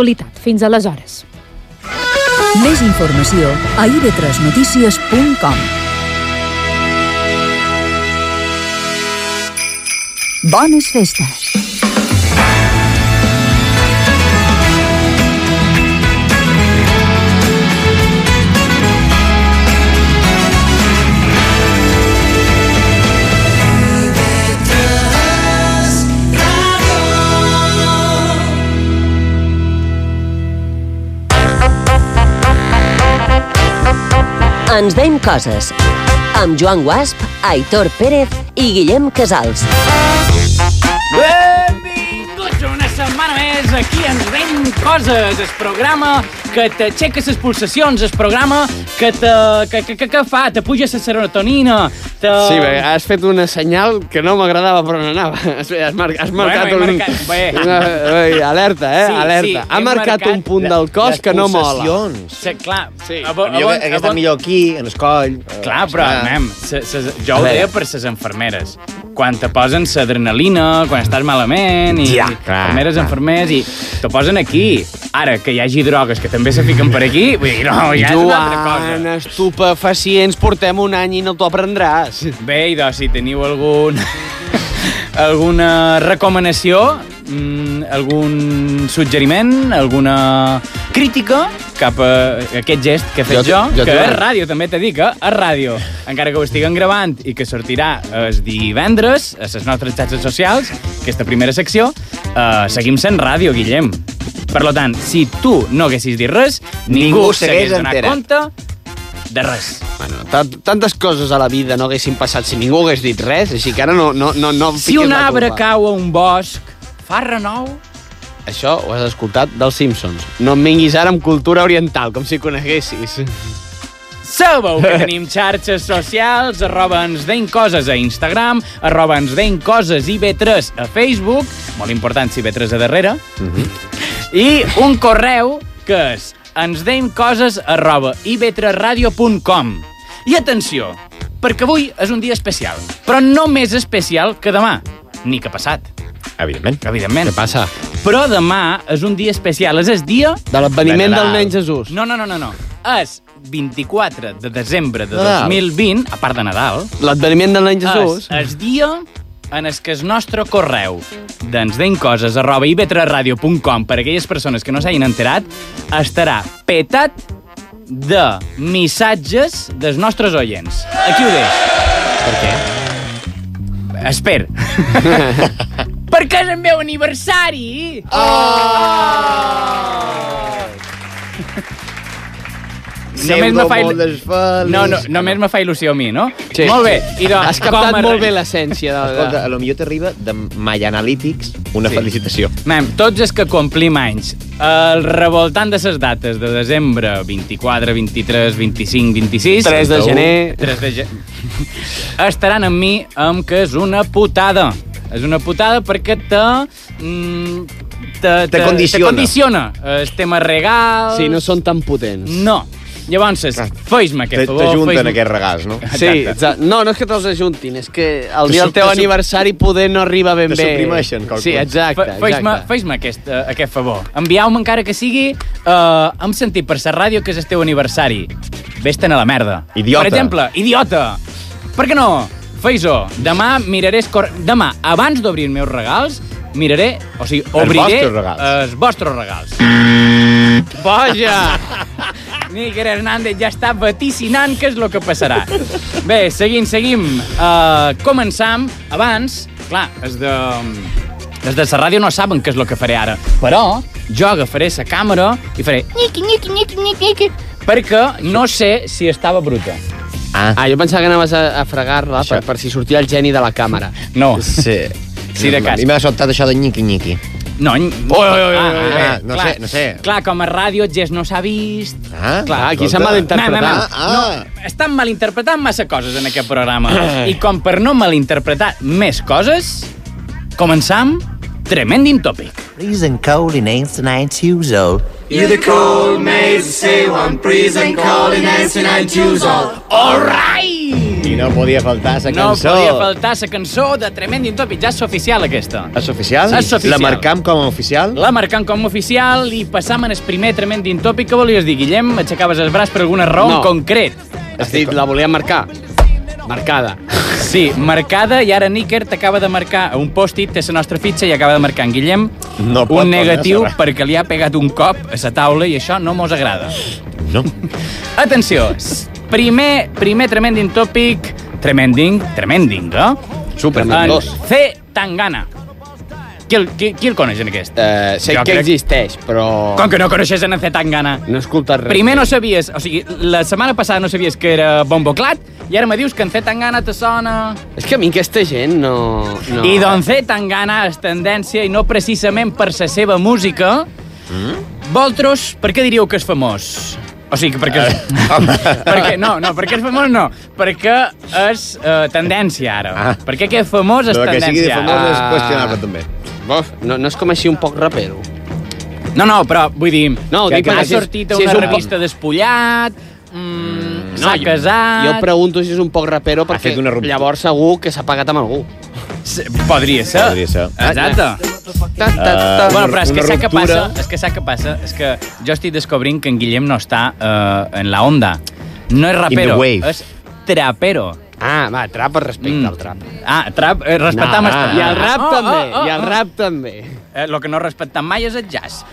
actualitat. Fins aleshores. Més informació a ib3notícies.com Bones festes! Ens veiem coses. Amb Joan Guasp, Aitor Pérez i Guillem Casals. Benvinguts Doncs una setmana més aquí a ens veiem coses, el programa que t'aixeca les pulsacions, el programa que, te, que, que, que, que fa, te puja la serotonina, te... Sí, bé, has fet una senyal que no m'agradava però on anava. Has, has, mar has marcat he un... marcat- bé. Una, bé, alerta, eh? Sí, sí, alerta. he ha marcat, marcat un punt del cos que no mola. Sí, clar, Sí. a bo- a Millor, bo- bon, a hagués bo- estat millor aquí, en el coll. Clar, però, Ah. nen, se, se, jo ho deia per les enfermeres. Quan te posen l'adrenalina, quan estàs malament, i ja, enfermeres, enfermers, i te posen aquí. Ara, que hi hagi drogues que també se fiquen per aquí, vull dir, no, ja és una altra cosa. Joan, estupefacients, portem un any i no t'ho aprendràs. Bé, idò, si teniu algun... alguna recomanació, mm, algun suggeriment, alguna crítica cap a aquest gest que he fet Jo- jo, jo que t'ho- és ràdio, també t'he dit, eh? És ràdio. Encara que ho estiguen gravant i que sortirà el divendres a les nostres xarxes socials, aquesta primera secció, eh, seguim sent ràdio, Guillem. Per lo tant, si tu no haguessis dit res, ningú, Ningú s'hagués s'hagués donat enterat. compte de res. Bueno, ta- tantes coses a la vida no haguessin passat si ningú hagués dit res, així que ara no, no, no, no em Si fiquis un la arbre culpa. cau a un bosc, fa renou? Això ho has escoltat dels Simpsons. No em vinguis ara amb cultura oriental, com si coneguessis. Sabeu que tenim xarxes socials, arroba ens deim coses a Instagram, arroba ens deim coses i B3 a Facebook, molt important si B3 a darrere, Mhm. i un correu que és ens deim coses arroba ib3radio.com. I atenció, perquè avui és un dia especial, però no més especial que demà, ni que passat, Evidentment. evidentment. Què passa? Però demà és un dia especial, és el dia De l'adveniment De del Nadal. nen Jesús. no, no, no, no, no. És 24 de desembre de Nadal. 2020, a part de Nadal, L'adveniment del Ah, nen Jesús. és el dia en el que el nostre correu d'ens den coses arroba ivetresradio.com per a aquelles persones que no s'hagin enterat estarà petat de missatges dels nostres oients. Aquí ho deix. Per què? Esper. Perquè és el meu aniversari! Només me fa... il- No, no, només me fa il·lusió a mi, no? Sí. Molt bé. I doncs, Has captat com a- molt bé l'essència de... Escolta, a lo millor t'arriba de My Analytics una Sí. sí. felicitació. Mem, tots els que complim anys, al revoltant de les dates de desembre, 24, 23, 25, 26... 3 de gener. 3 de gener... Estaran amb mi amb que és una putada. És una putada perquè te... Mm, te, Te condiciona. Te condiciona. El tema regals... Sí, no són tan potents. No. Llavors, fes-me aquest favor. T'ajunten fes-me- aquests regals, no? Sí, Exacte. exacte. No, no és que te'ls ajuntin, és que el Te dia sup- del te teu sup- aniversari poder no arriba ben te bé. suprimeixen qualcun. Sí, exacte, Fe- Fes-me exacte. fes aquest, eh, aquest favor. Envieu-me encara que sigui eh, hem sentit per la ràdio que és el teu aniversari. Vés-te'n a la merda. Idiota. Per exemple, idiota. Per què no? Feix-ho. Demà miraré... el Cor... Demà, abans d'obrir els meus regals, miraré... O sigui, obriré... vostres regals. Els vostres regals. Boja! Níger Hernández ja està vaticinant què és el que passarà. Bé, seguim, seguim. Uh, començam. Abans, clar, els de... Els de la ràdio no saben què és el que faré ara, però jo agafaré la càmera i faré... Niqui, niqui, niqui, niqui, niqui, perquè no sé si estava bruta. Ah, jo pensava que anaves a, a fregar-la per, per si sortia el geni de la càmera. No. Ah, Sí. Sí, de cas. A mi m'ha sobtat això de nyiqui-nyiqui. No, oi, Oi, oi, oi, oi, oi, Ah, no sé, no sé. Clar, com a ràdio, Jess no s'ha vist. Ah, Clar, aquí s'ha escolta. malinterpretat. Mem, mem, Ah, ah. No, estan malinterpretant massa coses en aquest programa. I com per no malinterpretar més coses, començam Tremending Topic. Please and cold in 1892 old. All right! I no podia faltar sa No cançó. podia faltar la cançó de Tremendin Topic. Ja és oficial, aquesta. És oficial? És oficial. La marcam com a oficial? La marcant com a oficial i passàvem el primer Tremendin Topic. Què volies dir, Guillem? Aixecaves el braç per alguna raó No. en concret? Has dit, la volia marcar. Marcada. Sí, marcada, i ara Níker t'acaba de marcar a un post-it, té la nostra fitxa i acaba de marcar en Guillem No pot un tornar, negatiu serà. perquè li ha pegat un cop a la taula i això no mos agrada. No. Atenció, s- primer, primer Tremending Topic, Tremending, Tremending, eh? Supermendos. En C. Tangana. Qui el, qui, qui el coneix en aquest? Eh, sé Jo que crec- existeix, però... Com que no coneixes en C. Tangana? No he escoltat res. Primer no sabies, o sigui, la setmana passada no sabies que era bomboclat i ara me dius que en C. Tangana te sona... És que a mi aquesta gent no... no. I doncs Don C. Tangana és tendència, i no precisament per la seva música. Mm? Voltros, per què diríeu que és famós? O sigui, que perquè... Eh, perquè no, no, perquè és famós no. Perquè és eh, tendència, ara. Ah. Ah. Perquè aquest famós és Lo que tendència. sigui de famós és Ah. qüestionable, també. Bof, no, no és com així un poc rapero. No, no, però vull dir... No, ho que, dic que perquè ha si és- sortit a si és una un po- revista despullat, mm, s'ha jo- casat... Jo pregunto si és un poc rapero perquè fet una ruptura. llavors segur que s'ha pagat amb algú. S- Podria ser. Podria ser. Exacte. Ah, Ta, ta, ta. Ah, Bueno, però és que una sap què passa? ruptura. És que sap què passa? És que jo estic descobrint que en Guillem no està eh, en la onda. No és rapero, wave. és trapero. Ah, va, trap al respecte Mm. al trap. Ah, trap, eh, respectam No, el trap. I el rap Oh, també, oh, oh, i el oh. rap també. Eh, lo que no respectam mai és el jazz.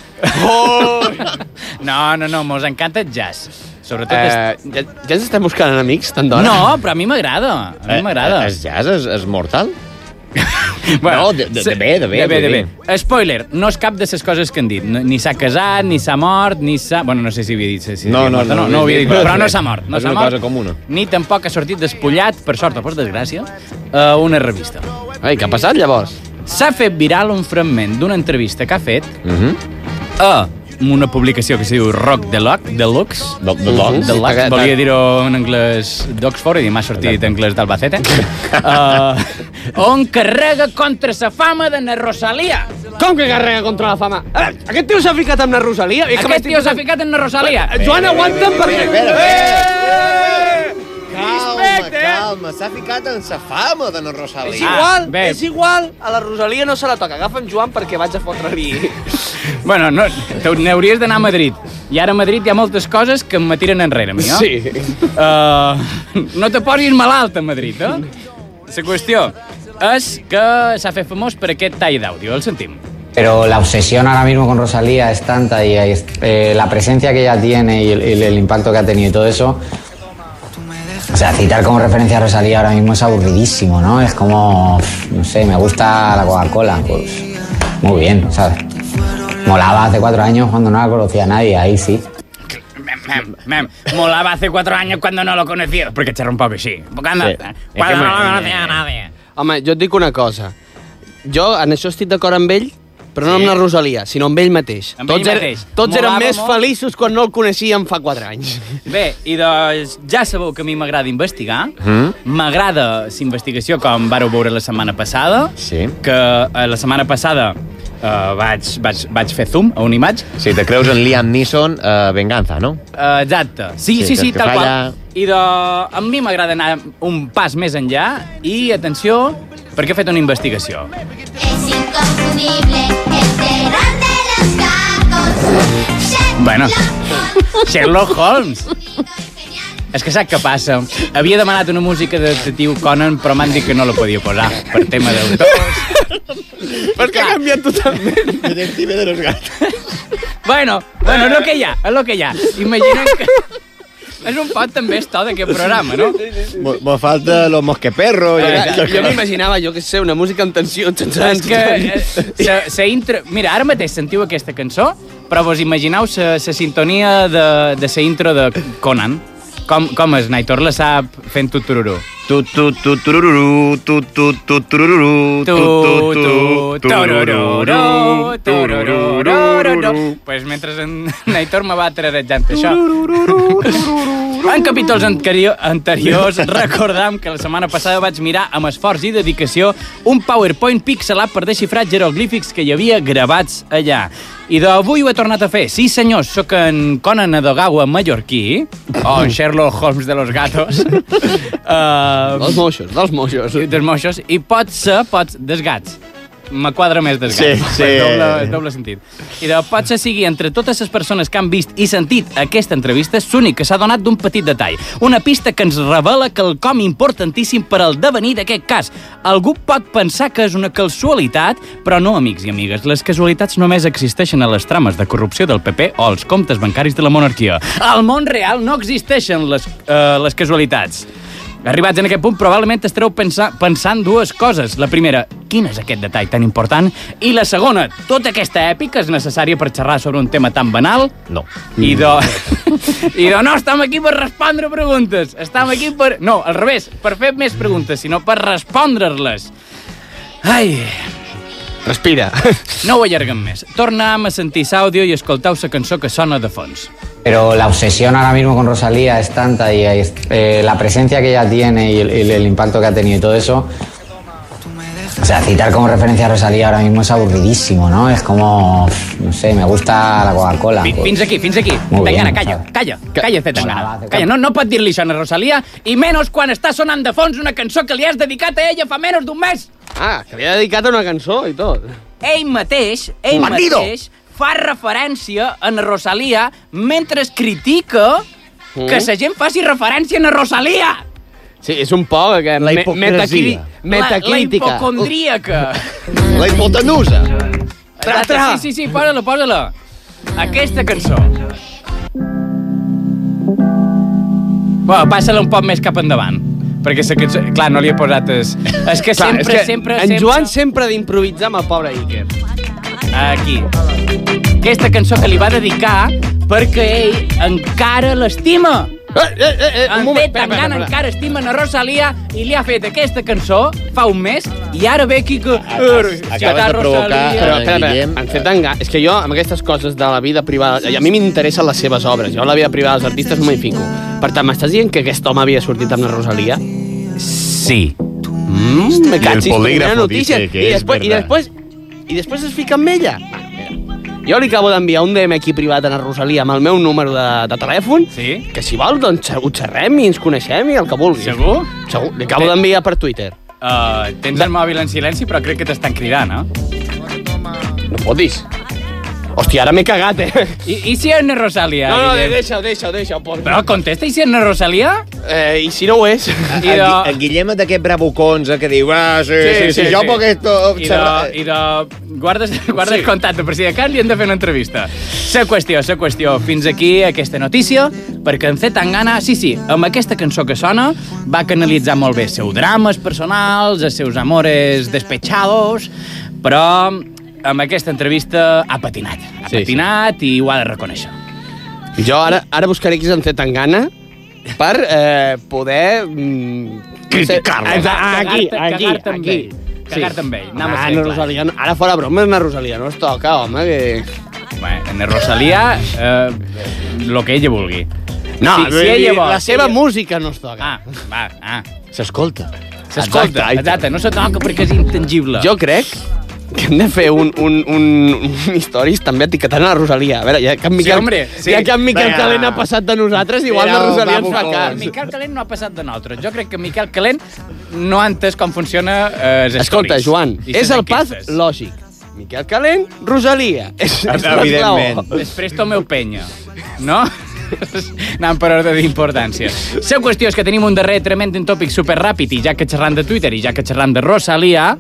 No, no, no, mos encanta el jazz. Sobretot... Eh, Eh, ja, ja ens estem buscant enemics, tant d'hora? no, però a mi m'agrada. A mi m'agrada. Eh, El jazz és, és mortal? Bueno, No, de- de- de bé, de bé, De bé, vull de dir. bé. Spoiler, no és cap de les coses que han dit. No- Ni s'ha casat, ni s'ha mort, ni s'ha... Bueno, no sé si havia dit... Si si No, havia no, mort o no, no, no no ho havia havia dit, dit. però, però no s'ha mort. No És s'ha una mort, cosa comuna. Ni tampoc ha sortit despullat, per sort o per desgràcia, a una revista. Ai, què ha passat llavors? S'ha fet viral un fragment d'una entrevista que ha fet Mhm. Mm a una publicació que es diu Rock Deluxe, Deluxe, de, de logs? de Perquè- Lac, volia dir-ho en anglès d'Oxford i m'ha sortit anglès d'Albacete. uh, on carrega contra sa fama de na Rosalia. Com que carrega contra la fama? Eh, Aquest tio s'ha ficat amb la Rosalia? És que Aquest tio s'ha ficat en na Rosalia. m'estic- Eh, Joan, aguanta'm perquè... espera, Eh! Calma, Respecte, eh? calma. S'ha ficat en sa fama de no És Rosalia. igual, bé. és igual, a la Rosalia no se la toca. Agafa'm Joan perquè vaig a fotre-li... Bueno, no, te- n'hauries d'anar a Madrid. I ara a Madrid hi ha moltes coses que em tiren enrere, a mi, no? Uh, no te posis malalt a Madrid, eh? La qüestió és que s'ha fet famós per aquest tall d'àudio. El sentim. Pero la obsesión ahora mismo con Rosalía es tanta y es- eh, la presencia que ella tiene y el, el- el impacto que ha tenido y todo eso. O sea, citar como referencia a Rosalía ahora mismo es aburridísimo, ¿no? Es como, pf, no sé, me gusta la Coca-Cola, pues muy bien, ¿sabes? Molaba hace cuatro años cuando no la conocía nadie, ahí sí. Mem, mem, mem. Molaba hace cuatro años cuando no lo conocía. Porque charra un poco així. Cuando, Sí. cuando Es que no me- lo conocía nadie. Home, jo et dic una cosa. Jo en això estic d'acord amb ell, però no amb la Rosalia, sinó amb ell mateix. Amb tots ell er- mateix. tots érem Molava més molt. feliços quan no el coneixíem fa 4 anys. Bé, i doncs ja sabeu que a mi m'agrada investigar. M'agrada mm? la investigació, com vàreu veure la setmana passada. Sí. Que eh, la setmana passada eh, vaig, vaig, vaig fer zoom a una imatge. Si te creus en Liam Neeson, eh, venganza, no? Eh, exacte. Sí, Sí, sí, sí, que sí és que tal falla. qual. I de... a mi m'agrada anar un pas més enllà. I atenció, perquè he fet una investigació. Es inconsumible el terror de los tacos. Sherlock Bueno, Sherlock Holmes. Holmes, genial. És que sap què passa? Havia demanat una música de detectiu Conan, però m'han dit que no la podia posar, per tema d'autors. Per què ha canviat totalment? Detective de los gatos. Bueno, bueno, és el que hi ha, és el que hi ha. Imaginem que... És un pot també esto d'aquest programa, no? Mo falta los mosqueperros. Jo, jo m'imaginava, jo que sé, una música amb tensió. És que eh, sa, sa intro... Mira, ara mateix sentiu aquesta cançó, però vos imagineu sa, sa sintonia de, de sa intro de Conan. Com, com és? Naitor la sap fent tu tururú. Tu, tu, tu, tururú, tu, tu, tu, tururú, Tu, tu, tururú, tururú, tururú. Pues mentre en Naitor me va trarejant això. En capítols anterior, anteriors recordam que la setmana passada vaig mirar amb esforç i dedicació un PowerPoint pixelat per desxifrar jeroglífics que hi havia gravats allà. I d'avui ho he tornat a fer. Sí, senyors, sóc en Conan Adogawa mallorquí, o en Sherlock Holmes de los gatos, uh, Dels moixos, dels moixos. dels moixos i pot ser, pot, dels gats. Me quadra més dels Sí, gats. sí. Doble, doble sentit. I de pot ser sigui entre totes les persones que han vist i sentit aquesta entrevista, l'únic que s'ha donat d'un petit detall. Una pista que ens revela quelcom importantíssim per al devenir d'aquest cas. Algú pot pensar que és una casualitat, però no, amics i amigues. Les casualitats només existeixen a les trames de corrupció del PP o als comptes bancaris de la monarquia. Al món real no existeixen les, eh, les casualitats. Arribats en aquest punt, probablement estareu pensar, pensant dues coses. La primera, quin és aquest detall tan important? I la segona, tota aquesta èpica és necessària per xerrar sobre un tema tan banal? No. I de... I de no estem aquí per respondre preguntes. Estem aquí per... No, al revés, per fer més preguntes, sinó per respondre-les. Ai, Respira. no ho allarguem més. Tornem a sentir l'àudio i escoltau la cançó que sona de fons. Pero la obsesión ahora mismo con Rosalía es tanta y eh, la presencia que ella tiene y el, el- el impacto que ha tenido y todo eso. O sea, citar como referencia a Rosalía ahora mismo es aburridísimo, ¿no? Es como, pf, no sé, me gusta la Coca-Cola. Fi- Fins aquí, fins aquí. Molt Ah, bé, Tangana, no calla, sabe. calla, calla, fet Hola, Tangana. va, Calla, no, no pot dir-li això a Rosalia, i menys quan està sonant de fons una cançó que li has dedicat a ella fa menys d'un mes. Ah, que li ha dedicat una cançó i tot. Ell mateix, ell mateix, fa referència a na Rosalia mentre critica que la gent faci referència a na Rosalia. Sí, és un poc... Que La hipocresia. Metacrítica. La, la hipocondríaca. La hipotenusa. Tra, tra. Sí, sí, sí, posa-la, posa-la. Aquesta cançó. Bueno, passa-la un poc més cap endavant. Perquè la cançó... Clar, no li he posat... Es... És que Clar, sempre, és que sempre, en sempre... Joan sempre ha d'improvisar amb el pobre Iker. Aquí. Aquesta cançó que li va dedicar perquè ell encara l'estima. Eh, eh, eh, eh, En fet, Tangana encara estima na Rosalia i li ha fet aquesta cançó fa un mes i ara ve aquí que... acabes de provocar- Però, Eh, espera, espera, Guillem, en fet enga... És que jo, amb aquestes coses de la vida privada... A mi m'interessen les seves obres. Jo la vida privada dels artistes no m'hi fico. Per tant, m'estàs dient que aquest home havia sortit amb la Rosalia? Sí. Mm, me el cachis, polígrafo primera noticia. dice que y es después, y verdad. después, y después es fica amb ella. Bueno, mira. Jo li acabo d'enviar un DM aquí privat a la Rosalia amb el meu número de, de telèfon, Sí? que si vol, doncs ho xerrem i ens coneixem i el que vulguis. Segur? Eh. Segur. Li acabo d'enviar per Twitter. Uh, tens el mòbil en silenci, però crec que t'estan cridant, eh? No fotis. Hòstia, ara m'he cagat, eh? I, i si és na Rosalia? No, no, Guillem? deixa-ho, deixa-ho, deixa-ho. Por... Però contesta, i si és na Rosalia? Eh, I si no ho és? I de... En Guillem és d'aquest bravucons eh, que diu ah, sí, sí, sí, sí, sí, jo sí. puc esto... I de, i de... Guardes, guardes sí. contacte, per si de cas li hem de fer una entrevista. Sa qüestió, sa qüestió. Fins aquí aquesta notícia, perquè en fet tan gana... Sí, sí, amb aquesta cançó que sona va canalitzar molt bé els seus drames personals, els seus amores despechados, però amb aquesta entrevista ha patinat. Ha Sí, sí. sí, patinat sí. i ho ha de reconèixer. Jo ara, ara buscaré qui se'n té tan gana per eh, poder... Mm, Criticar-lo. Exacte, ah, Aquí, Cagar-te- aquí, cagar-te amb aquí. ell. Cagar-te amb ell, anem a Ah, ser no, clars. Rosalia, no, ara fora broma, na Rosalia, no es toca, home, que... Bueno, en Rosalia, eh, lo que ella vulgui. No, si ella vol, la si seva ella- música no es toca. Ah, va, ah. S'escolta. S'escolta. Exacte, exacte, no se toca perquè és intangible. Jo crec que hem de fer un, un, un, un històries també etiquetant a la Rosalia. A veure, ja que en Miquel, hombre, sí. ja que en Miquel Vinga. Calent ha passat de nosaltres, igual Era la un Rosalia ens fa babucó. El cas. Miquel Calent no ha passat de nosaltres. Jo crec que Miquel Calent no ha entès com funciona eh, les Escolta, stories. Joan, I és les el pas enquestes. lògic. Miquel Calent, Rosalia. És, és l'esglaó. Evidentment. Després Tomeu Penya, no? anant per ordre d'importància. La qüestió és que tenim un darrer tremend en tòpic superràpid i ja que xerram de Twitter i ja que xerram de Rosalia,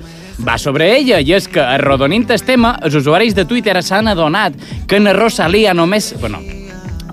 va sobre ella i és que arrodonint el tema, els usuaris de Twitter s'han adonat que na Rosalia només... Bueno,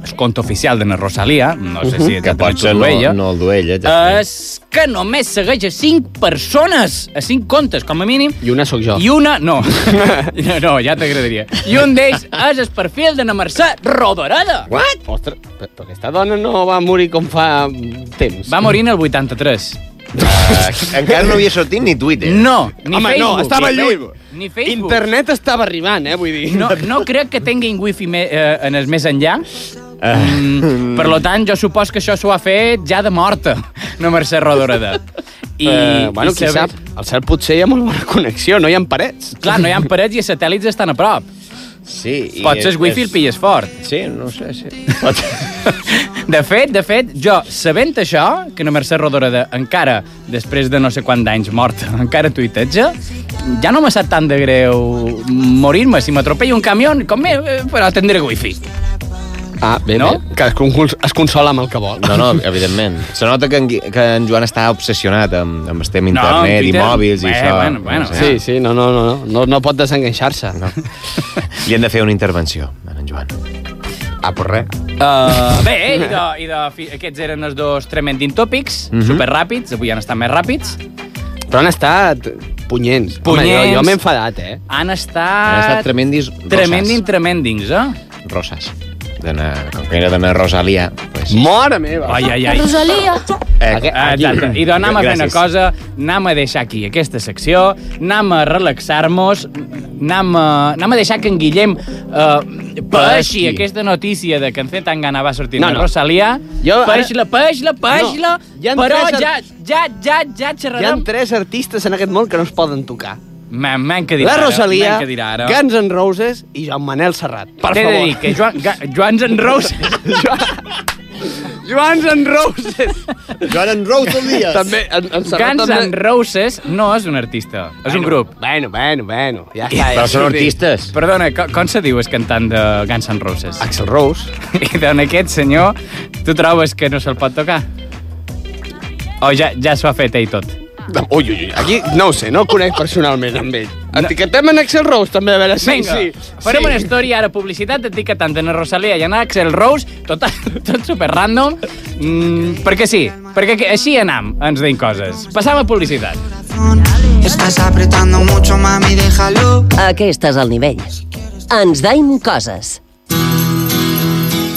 el compte oficial de na Rosalia, no sé si Que exactament pot ser ho no, ella, no el d'Uella. Ja. és que només segueix a 5 persones, a 5 comptes, com a mínim, I una sóc jo. i una... No, no, no ja t'agradaria. I un d'ells és el perfil de na Mercè Rodoreda. What? Ostres, però però aquesta dona no va morir com fa mm, temps. Va morir en el 83. Uh, encara no havia sortit ni Twitter. No, ni Home, Facebook. no, estava ni lluny. Facebook, Ni Facebook. Internet estava arribant, eh, vull dir. No, no crec que tinguin wifi me, eh, en el més enllà. Ah. Mm, per lo tant, jo supos que això s'ho ha fet ja de morta, no Mercè Rodoreda. I, eh, bueno, qui saber- sap, al cel potser hi ha molt bona connexió, no hi ha parets. Clar, no hi ha parets i els satèl·lits estan a prop. Sí. i Potser el wifi és- el pilles fort. Sí, no ho sé, sí. Pot... De fet, de fet, jo, sabent això, que la Mercè Rodoreda encara, després de no sé quant d'anys morta, encara tuiteja, ja no m'ha estat tan de greu morir-me. Si m'atropella un camió, com me, però tindré wifi. Ah, bé, No? bé. Que es, con- es consola amb el que vol. No, no, evidentment. Se nota que en, Gui- que en Joan està obsessionat amb, amb el tema No, internet i Twitter. mòbils i Bé, això. bueno, bueno. No sé. Sí, sí, no, no, no, no, no, no pot desenganxar-se. No. Li hem de fer una intervenció, a en Joan. Ah, però res. Uh, bé, i, de, i de, fi- aquests eren els dos tremendin tòpics, mm -hmm. superràpids, avui han estat més ràpids. Però han estat punyents. Home, Punyents. jo jo m'he enfadat, eh? Han estat... Han Ah, estat tremendis Tremendin, tremendins, eh? rosas. D'anar, com que era d'anar Rosalia, pues... Mora meva! Ai, ai, ai. Eh, Ah, Exacte. I doncs anem a fer una Gràcies. cosa, anem a deixar aquí aquesta secció, anem a relaxar-nos, anem, a, anem a deixar que en Guillem eh, paeixi Paeixi. aquesta notícia de que en Zetangana va sortir no, No, no. no. de Rosalia. Jo ara- Paeix-la, paeix-la, paeix-la, No, hi no, han però tres ja, ar- ja, ja, ja Hi ha xerrarem. tres artistes en aquest món que no es poden tocar. Man, man, que dirà La ara, Rosalia, Man, que dirà ara. Guns N' Roses i Joan Manel Serrat. Per T'he de dir favor. que Joan, Ga, Joans en Roses... Joan N' Roses. Joan en Rosalia! també, en, en Serrat Guns també... N' Roses no és un artista, és un grup. Bueno, bueno, bueno. Ja està, Però ja són s'ho dic. artistes. Perdona, co- com se diu el cantant de Guns N' Roses? Axel Rose. I doncs aquest senyor, tu trobes que no se'l pot tocar? O ja, ja s'ho ha fet ell tot? Ui, ui, ui, aquí no ho sé, no el conec personalment amb ell. Etiquetem en Axel Rose també, a veure si... sí, farem una història, ara publicitat, etiquetant en Rosalia i en Axel Rose, tot, tot super random, mm, perquè sí, perquè que- així anam, ens deim coses. Passam a publicitat. Estás apretando mucho, mami, déjalo. Aquest és el nivell. Ens deim coses.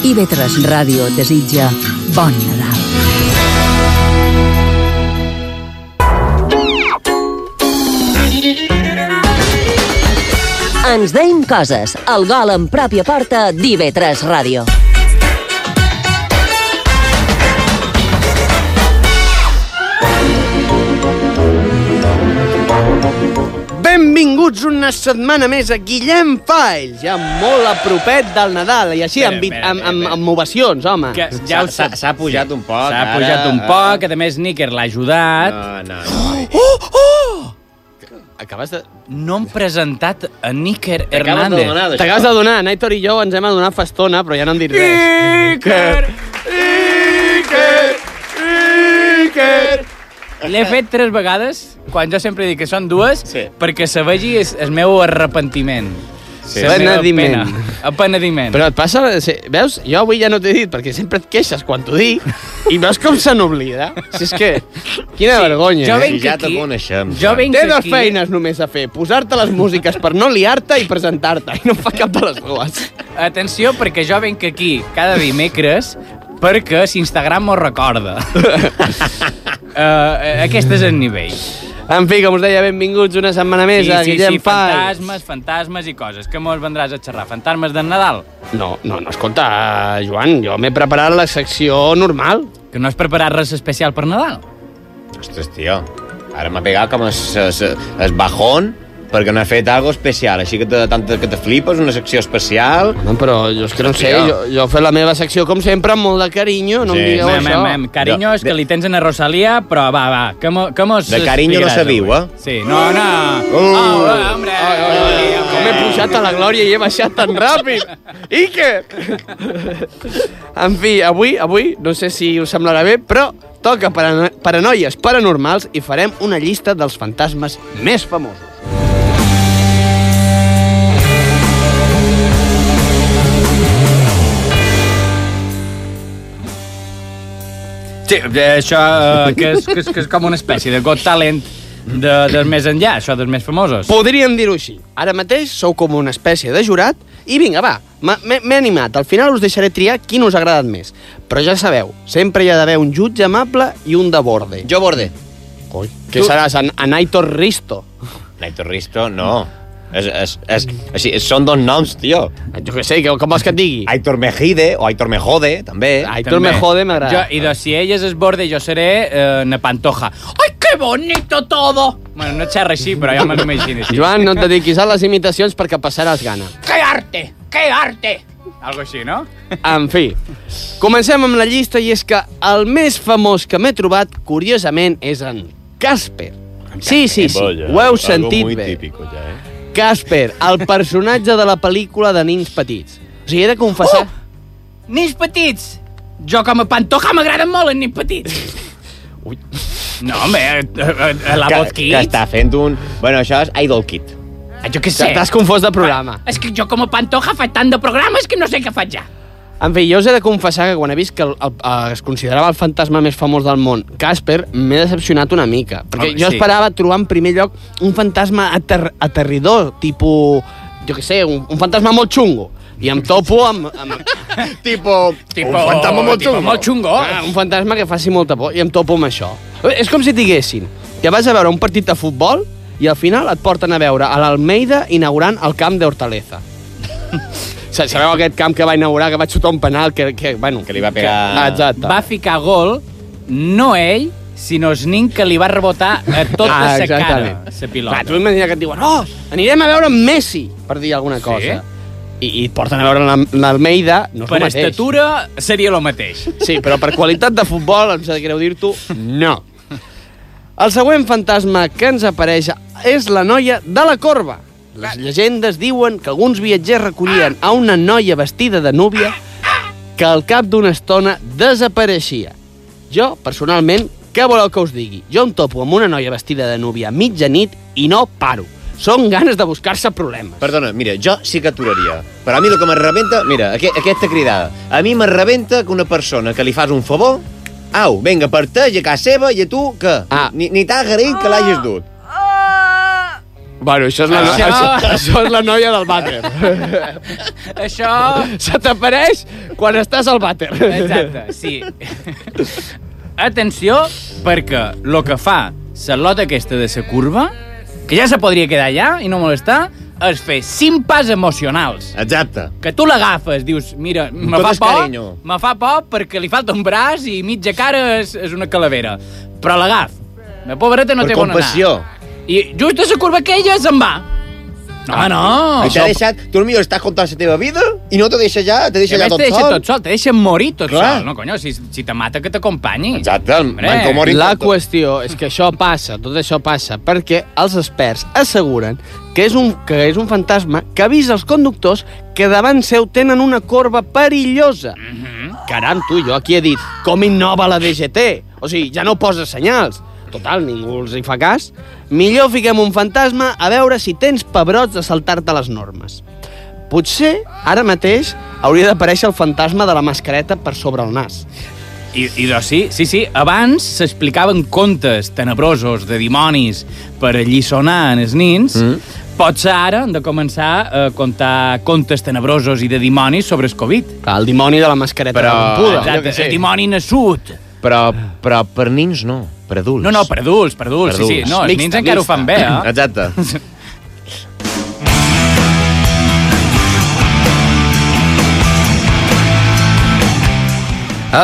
IB3 Ràdio desitja bon Nadal. Ens deim coses. El gol en pròpia porta d'IV3 Ràdio. Benvinguts una setmana més a Guillem Falls, ja molt a propet del Nadal, i així Espera, amb, vi- espera, amb, amb, espera. amb ovacions, home. Que ja ho S'ha- sap. s'ha pujat un poc, S'ha ara. pujat un poc, que també Snicker l'ha ajudat. Oh, No, no, no. Acabes de... No hem presentat a Níker Acabes de donar Hernández. d'això. T'acabes de donar, Naitor i jo ens hem adonat fa estona, però ja no hem dit res. Iker! Iker! Iker! L'he fet tres vegades, quan jo sempre dic que són dues, sí. Sí. perquè se vegi el, el meu arrepentiment. Sí. Penediment. Penediment. Però... Però et passa... sí, Veus? Jo avui ja no t'he dit, perquè sempre et queixes quan t'ho dic, i veus com se n'oblida? Si és que... Quina vergonya, jo eh? venc ja aquí... te coneixem, Jo Joan. venc Té dues aquí... feines només a fer, posar-te les músiques per no liar-te i presentar-te, i no fa cap de les dues. Atenció, perquè jo venc aquí cada dimecres perquè si Instagram m'ho recorda. uh, aquest és el nivell. En fi, com us deia, benvinguts una setmana més a Guillem Falls. fantasmes, fantasmes i coses. Que mos vendràs a xerrar? Fantasmes del Nadal? No, no, no, escolta, Joan, jo m'he preparat la secció normal. Que no has preparat res especial per Nadal? Ostres, tio. Ara m'ha pegat com es, es, es bajón perquè n'ha fet algo especial. Així que te, tant que te flipes, una secció especial... No, però jo és que no en sé, Hòstia. jo, jo he fet la meva secció, com sempre, amb molt de carinyo, no Sí. em digueu Mem, això. mem, mem. Carinyo és De- que li tens a Rosalia, però va, va, que mo, que mos De carinyo no explicaràs se viu, avui? eh? Sí, no, no. Uh. Oh, hombre, Ai, ai, ai, hombre. Com he pujat a la glòria i he baixat tan ràpid. Iker! en fi, avui, avui, no sé si us semblarà bé, però toca parano paranoies paranormals i farem una llista dels fantasmes més famosos. Sí, eh, això eh, que, és, que, és, que és com una espècie de Got Talent de, del més enllà, això dels més famosos. Podríem dir-ho així. Ara mateix sou com una espècie de jurat i vinga, va, m'ha- m'he m'he animat. Al final us deixaré triar quin us ha agradat més. Però ja sabeu, sempre hi ha d'haver un jutge amable i un de borde. Jo borde. Coi. Què seràs, en, en Aitor Risto? Naito Risto, no. És, és, és, així, són dos noms, tio. Jo què sé, que- com vols que et digui? Aitor Mejide o Aitor Mejode, també. Ai, Aitor me jode, m'agrada. Jo- I doncs, si ell és el borde, jo seré eh, na Pantoja. ¡Ay, qué bonito todo! Bueno, no xerra així, però ja me l'imagino així. Joan, no et dediquis a les imitacions perquè passaràs gana. ¡Qué arte! ¡Qué arte! Algo així, no? En fi, comencem amb la llista i és que el més famós que m'he trobat, curiosament, és en Casper. Sí, sí, sí, Boya, ho heu algo sentit muy bé. típico ya, ¿eh? Casper, el personatge de la pel·lícula de nins petits. O sigui, he de confessar... Nins petits! Jo com a pantoja m'agraden molt els nins petits. Ui. No, home, eh, eh, eh, la que, Bot Kids. Que està fent un... Bueno, això és Idol Kid. Ah, jo què sé. T'has confós de programa. És que jo com a pantoja faig tant de programes que no sé què faig ja. En fi, jo us he de confessar que quan he vist que el, el, eh, es considerava el fantasma més famós del món, Casper, m'he decepcionat una mica. Perquè Home, jo sí. esperava trobar en primer lloc un fantasma ater aterridor, tipus, jo què sé, un, un fantasma molt xungo. I em topo amb... amb tipo, tipo... Un fantasma molt tipo xungo. molt xungo. Ah, un fantasma que faci molta por. I em topo amb això. És com si et diguessin que vas a veure un partit de futbol i al final et porten a veure a l'Almeida inaugurant el camp d'Hortaleza. Sa- Sabeu aquest camp que va inaugurar, que va xutar un penal, que, que, bueno, que li va pegar- Que, exacte. Va ficar gol, no ell, sinó Snin, que li va rebotar a tota la Ah, cara, exactament. la Clar, pilota. tu imagina que et diuen oh, anirem a veure Messi, per dir alguna cosa. I, i et porten a veure l'Al- l'Almeida, no és per el mateix. estatura seria el mateix. Sí, però per qualitat de futbol, em sap greu dir-t'ho, no. El següent fantasma que ens apareix és la noia de la corba. Les llegendes diuen que alguns viatgers recollien a una noia vestida de núvia que al cap d'una estona desapareixia. Jo, personalment, què voleu que us digui? Jo em topo amb una noia vestida de núvia a mitjanit i no paro. Són ganes de buscar-se problemes. Perdona, mira, jo sí que aturaria. Però a mi el que m'arrebenta... Mira, aqu aquesta cridada. A mi m'arrebenta que una persona que li fas un favor... Au, vinga, per te i a casa seva i a tu, que Ah. ni, ni t'ha agraït que l'hagis dut. Bueno, això és la, Això- Això, això és la noia del vàter. Això... Se t'apareix quan estàs al vàter. Exacte, sí. Atenció, perquè el que fa la lota aquesta de la curva, que ja se podria quedar allà i no molestar, és fer cinc pas emocionals. Exacte. Que tu l'agafes, dius, mira, me Tot fa és por, carinyo. me fa por perquè li falta un braç i mitja cara és, és una calavera. Però l'agaf. La pobreta no Per té bona compassió. I just a la curva aquella se'n va. No, no. Ah, I t'ha deixat... Tu potser estàs contant la teva vida i no te deixa ja, te I deixa a ja més tot te deixa sol. tot sol, te deixa morir tot Clar. sol. No, conyo, si, si te mata que t'acompanyi. Exacte, el Hombre. manco mori. La tot- qüestió és que això passa, tot això passa, perquè els experts asseguren que és un, que és un fantasma que avisa els conductors que davant seu tenen una corba perillosa. Caram, tu, jo aquí he dit, com innova la DGT? O sigui, ja no posa senyals. Total, ningú els hi fa cas. Millor fiquem un fantasma a veure si tens pebrots de saltar-te les normes. Potser, ara mateix, hauria d'aparèixer el fantasma de la mascareta per sobre el nas. I, i doncs sí, sí, sí, abans s'explicaven contes tenebrosos de dimonis per allisonar en els nins, mm. potser ara hem de començar a contar contes tenebrosos i de dimonis sobre el Covid. Clar, el dimoni de la mascareta Però- de Pampuda. Ah, jo Exacte, què sé. el dimoni nassut. Però, però per nins no, per adults. No, no, per adults, per adults, sí, sí. No, els nins encara ho fan bé, eh? Exacte.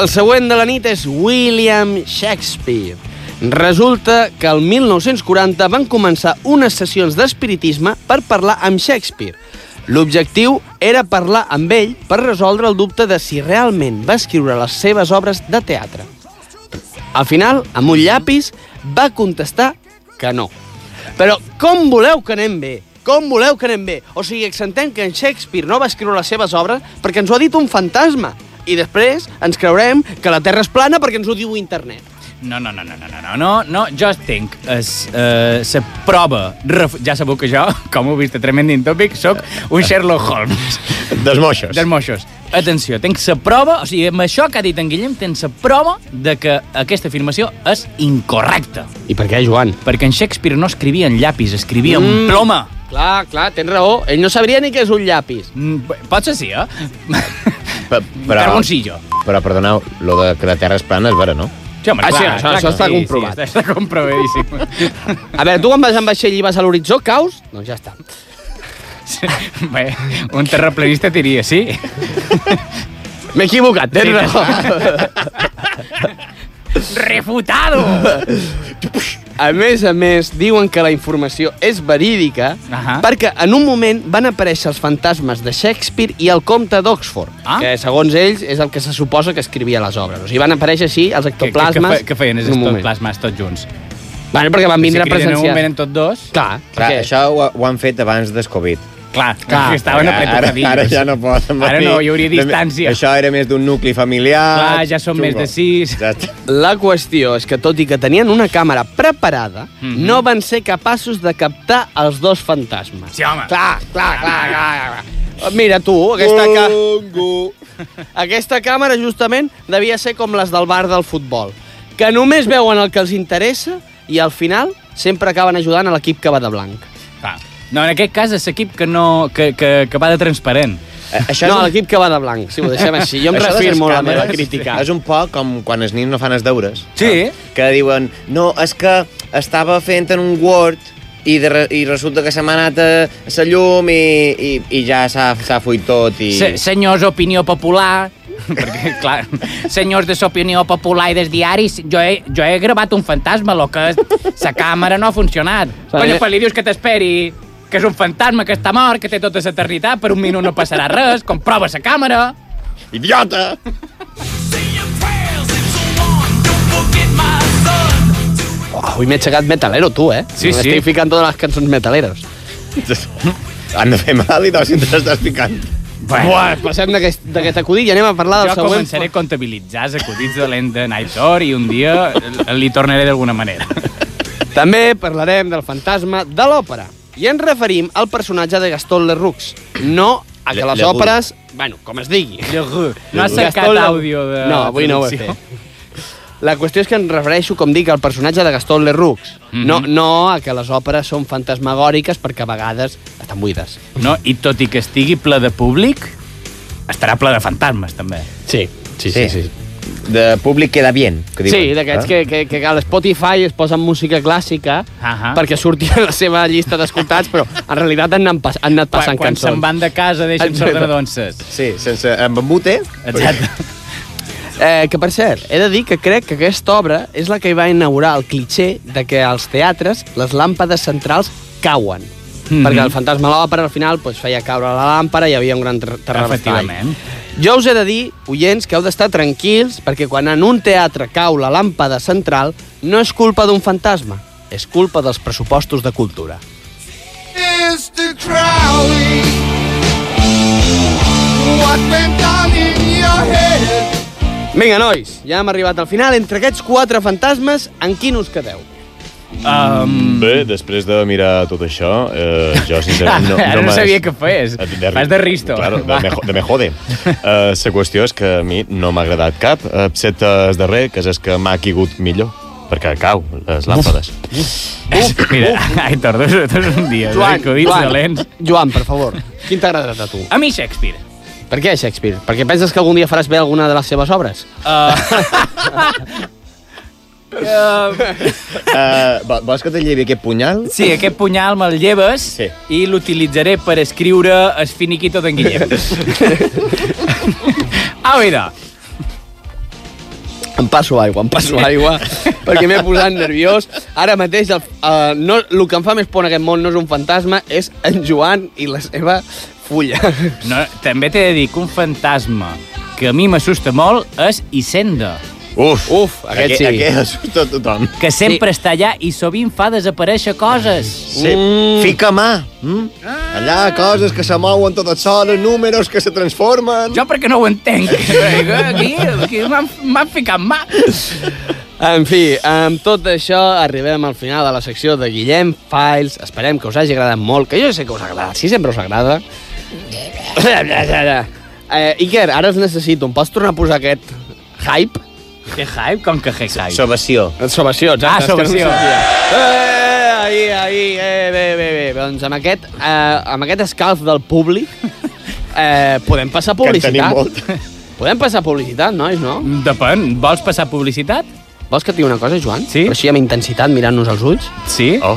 El següent de la nit és William Shakespeare. Resulta que el 1940 van començar unes sessions d'espiritisme per parlar amb Shakespeare. L'objectiu era parlar amb ell per resoldre el dubte de si realment va escriure les seves obres de teatre. Al final, amb un llapis, va contestar que no. Però com voleu que anem bé? Com voleu que anem bé? O sigui, accentem que en Shakespeare no va escriure les seves obres perquè ens ho ha dit un fantasma. I després ens creurem que la Terra és plana perquè ens ho diu internet. No, no, no, no, no, no, no, no, no, jo estic. Es, eh, se prova, ref... ja sabeu que jo, com heu vist a Tremending Topic, sóc un Sherlock Holmes. Dels moixos. Dels moixos. Atenció, tens la prova, o sigui, amb això que ha dit en Guillem, tens la prova de que aquesta afirmació és incorrecta. I per què, Joan? Perquè en Shakespeare no escrivia en llapis, escrivia mm. en ploma. Clar, clar, tens raó. Ell no sabria ni què és un llapis. Mm, pot ser sí, eh? Pe- però- Carboncillo. Però, perdoneu, lo de que la Terra és plana és vera, no? Sí, home, Ah, sí, això- això està comprovat. Sí, està, està comprovadíssim. A veure, tu quan vas en vaixell i vas a l'horitzó, caus? Doncs ja està. Bé, un terraplanista et diria sí. M'he equivocat, tens Sí, raó. ¡Refutado! A més a més, diuen que la informació és verídica Ahà. perquè en un moment van aparèixer els fantasmes de Shakespeare i el comte d'Oxford, Ah. que segons ells és el que se suposa que escrivia les obres. O sigui, van aparèixer així Què, els què, què, ectoplasmes... fe- què feien els en un moment. ectoplasmes tots junts? Bueno, perquè van vindre si a criden en un eh. presenciar... venen tots dos, Clar, Clar, perquè- això ho, ho han fet abans del Covid. clar, clar estaven Ara- ara, apretocadillos. ara ja no poden Ara venir. no, hi hauria distància. Això era més d'un nucli familiar. Clar, ja som més de sis. Ja està. La qüestió és que, tot i que tenien una càmera preparada, Mhm. no van ser capaços de captar els dos fantasmes. Sí, Ah. home. Clar, clar, clar, clar. clar. Mira, tu, aquesta, Oh. ca... Bongo. aquesta càmera justament devia ser com les del bar del futbol, que només veuen el que els interessa i al final sempre acaben ajudant a l'equip que va de blanc. Clar. No, en aquest cas és l'equip que, no, que, que, que va de transparent. Eh, Això No, és un- l'equip que va de blanc, si ho deixem així. Jo em Això de les refirmo a la càmeres meva crítica. És un poc com quan els nins no fan els deures. Sí. No? Que diuen, no, és que estava fent en un Word i, de, re- i resulta que se m'ha anat a la llum i, i, i ja s'ha s'ha fuit tot. I... Se, senyors, opinió popular... perquè, clar, senyors de l'opinió popular i dels diaris, jo he, jo he gravat un fantasma, lo que és, la càmera no ha funcionat. Conya, eh, pues li dius que t'esperi, que és un fantasma que està mort, que té tota l'eternitat, per un minut no passarà res, comprova la càmera... Idiota! eh? Avui m'he aixecat metalero, tu, eh? Sí, sí. Estic ficant totes les cançons metaleres. Han de fer mal i no, si t'estàs picant. Buah, passem d'aquest d'aquest acudit i anem a parlar del Jo següent. començaré a comptabilitzar els acudits de l'Enda Nightor i un dia li tornaré d'alguna manera. També parlarem del fantasma de l'òpera. I ens referim al personatge de Gaston Leroux. No a que Le- les Leroux. òperes... Bueno, com es digui. No has Gaston cercat Leroux. àudio de... No, avui no ho he traducció? fet. La qüestió és que em refereixo, com dic, al personatge de Gaston Leroux. Mhm. No, no a que les òperes són fantasmagòriques perquè a vegades estan buides. No? I tot i que estigui ple de públic, estarà ple de fantasmes, també. Sí, sí, De públic queda bien, que diuen. Sí, ah. d'aquests Eh? que, que, que a l'Spotify es posen música clàssica Ahà. perquè surti a la seva llista d'escoltats, però en realitat han anat, pas, han anat Quan, passant quan cançons. se'n van de casa deixen Exacte. sordredonces. Sí, sense... Amb embute. Exacte. Eh, que, per cert, he de dir que crec que aquesta obra és la que hi va inaugurar el cliché de que als teatres les làmpades centrals cauen. Mhm. Perquè el fantasma de l'òpera al final pues, feia caure la làmpara i hi havia un gran ter- terrabastall. Efectivament. Jo us he de dir, oients, que heu d'estar tranquils perquè quan en un teatre cau la làmpada central no és culpa d'un fantasma, és culpa dels pressupostos de cultura. Vinga, nois, ja hem arribat al final. Entre aquests quatre fantasmes, en quin us quedeu? Um, Bé, després de mirar tot això, eh, jo sincerament no, Ara no m'has- sabia què fes. Vas de risto. Claro, de, Va. me, de me jode. La uh, qüestió és que a mi no m'ha agradat cap, excepte el darrer, que és el que m'ha quigut millor, perquè cau, les làmpades. mira, Aitor, dos, dos un dia. eh, Joan, Joan. Dolents. Joan, per favor, quin t'ha agradat a tu? A mi Shakespeare. Per què Shakespeare? Perquè penses que algun dia faràs bé alguna de les seves obres? Uh, Uh, vols que te llevi aquest punyal? sí, aquest punyal me'l lleves Sí. i l'utilitzaré per escriure el finiquito d'en Guillem. Ah, Au, idò. Em passo aigua, em passo aigua, perquè m'he posat nerviós. Ara mateix el, eh, no, el que em fa més por en aquest món no és un fantasma, és en Joan i la seva fulla. No, també t'he de dir que un fantasma que a mi m'assusta molt és Hisenda, Uf, Uf, aquest sí. Aquest assusta tothom. que sempre sí. està allà i sovint fa desaparèixer coses. Sí. Mm. Fica mà. Mm? Allà, coses que se mouen totes soles, números que se transformen. Jo perquè no ho entenc. Aquí, aquí m'han m'han ficat mà. En fi, amb tot això arribem al final de la secció de Guillem Files. Esperem que us hagi agradat molt, que jo sé que us ha agradat, si sempre us agrada. Eh, Iker, ara els necessito. Em pots tornar a posar aquest hype? Que hype, com que que hype. Sobació. Sobació, exacte. Ah, és que sobació. No sortia. eh, ahí, ahí, eh, bé, bé, bé. Doncs amb aquest, eh, amb aquest escalf del públic eh, podem passar Que en publicitat. tenim molt. Podem passar publicitat, nois, no? Depèn. Vols passar publicitat? Vols que et digui una cosa, Joan? Sí. Però així amb intensitat, mirant-nos als ulls. Sí. Oh.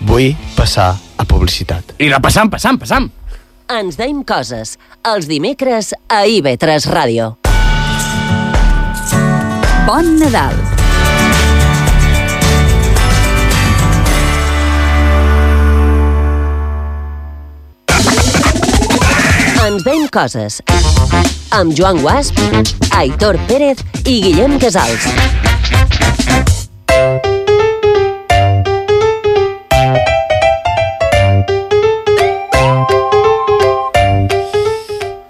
Vull passar a publicitat. I la passam, passam, passam. Ens deim coses. Els dimecres a IB3 Ràdio. Bon Nadal. Ens veiem coses. Amb Joan Guasp, Aitor Pérez i Guillem Casals.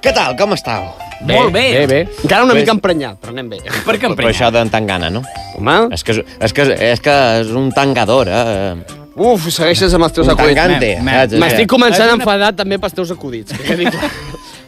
Què tal? Com estàu? Bé, Molt bé. Eh, Bé, bé. Encara una Bé. mica emprenyat, però anem bé. Per què em Però això d'en tan gana, no? Home, És que és, és, que, és, que és un tangador, eh? uf, segueixes amb els teus Un acudits. tangante. Me- me- saps? M'estic començant És a una- enfadar també pels teus acudits. que quedi clar.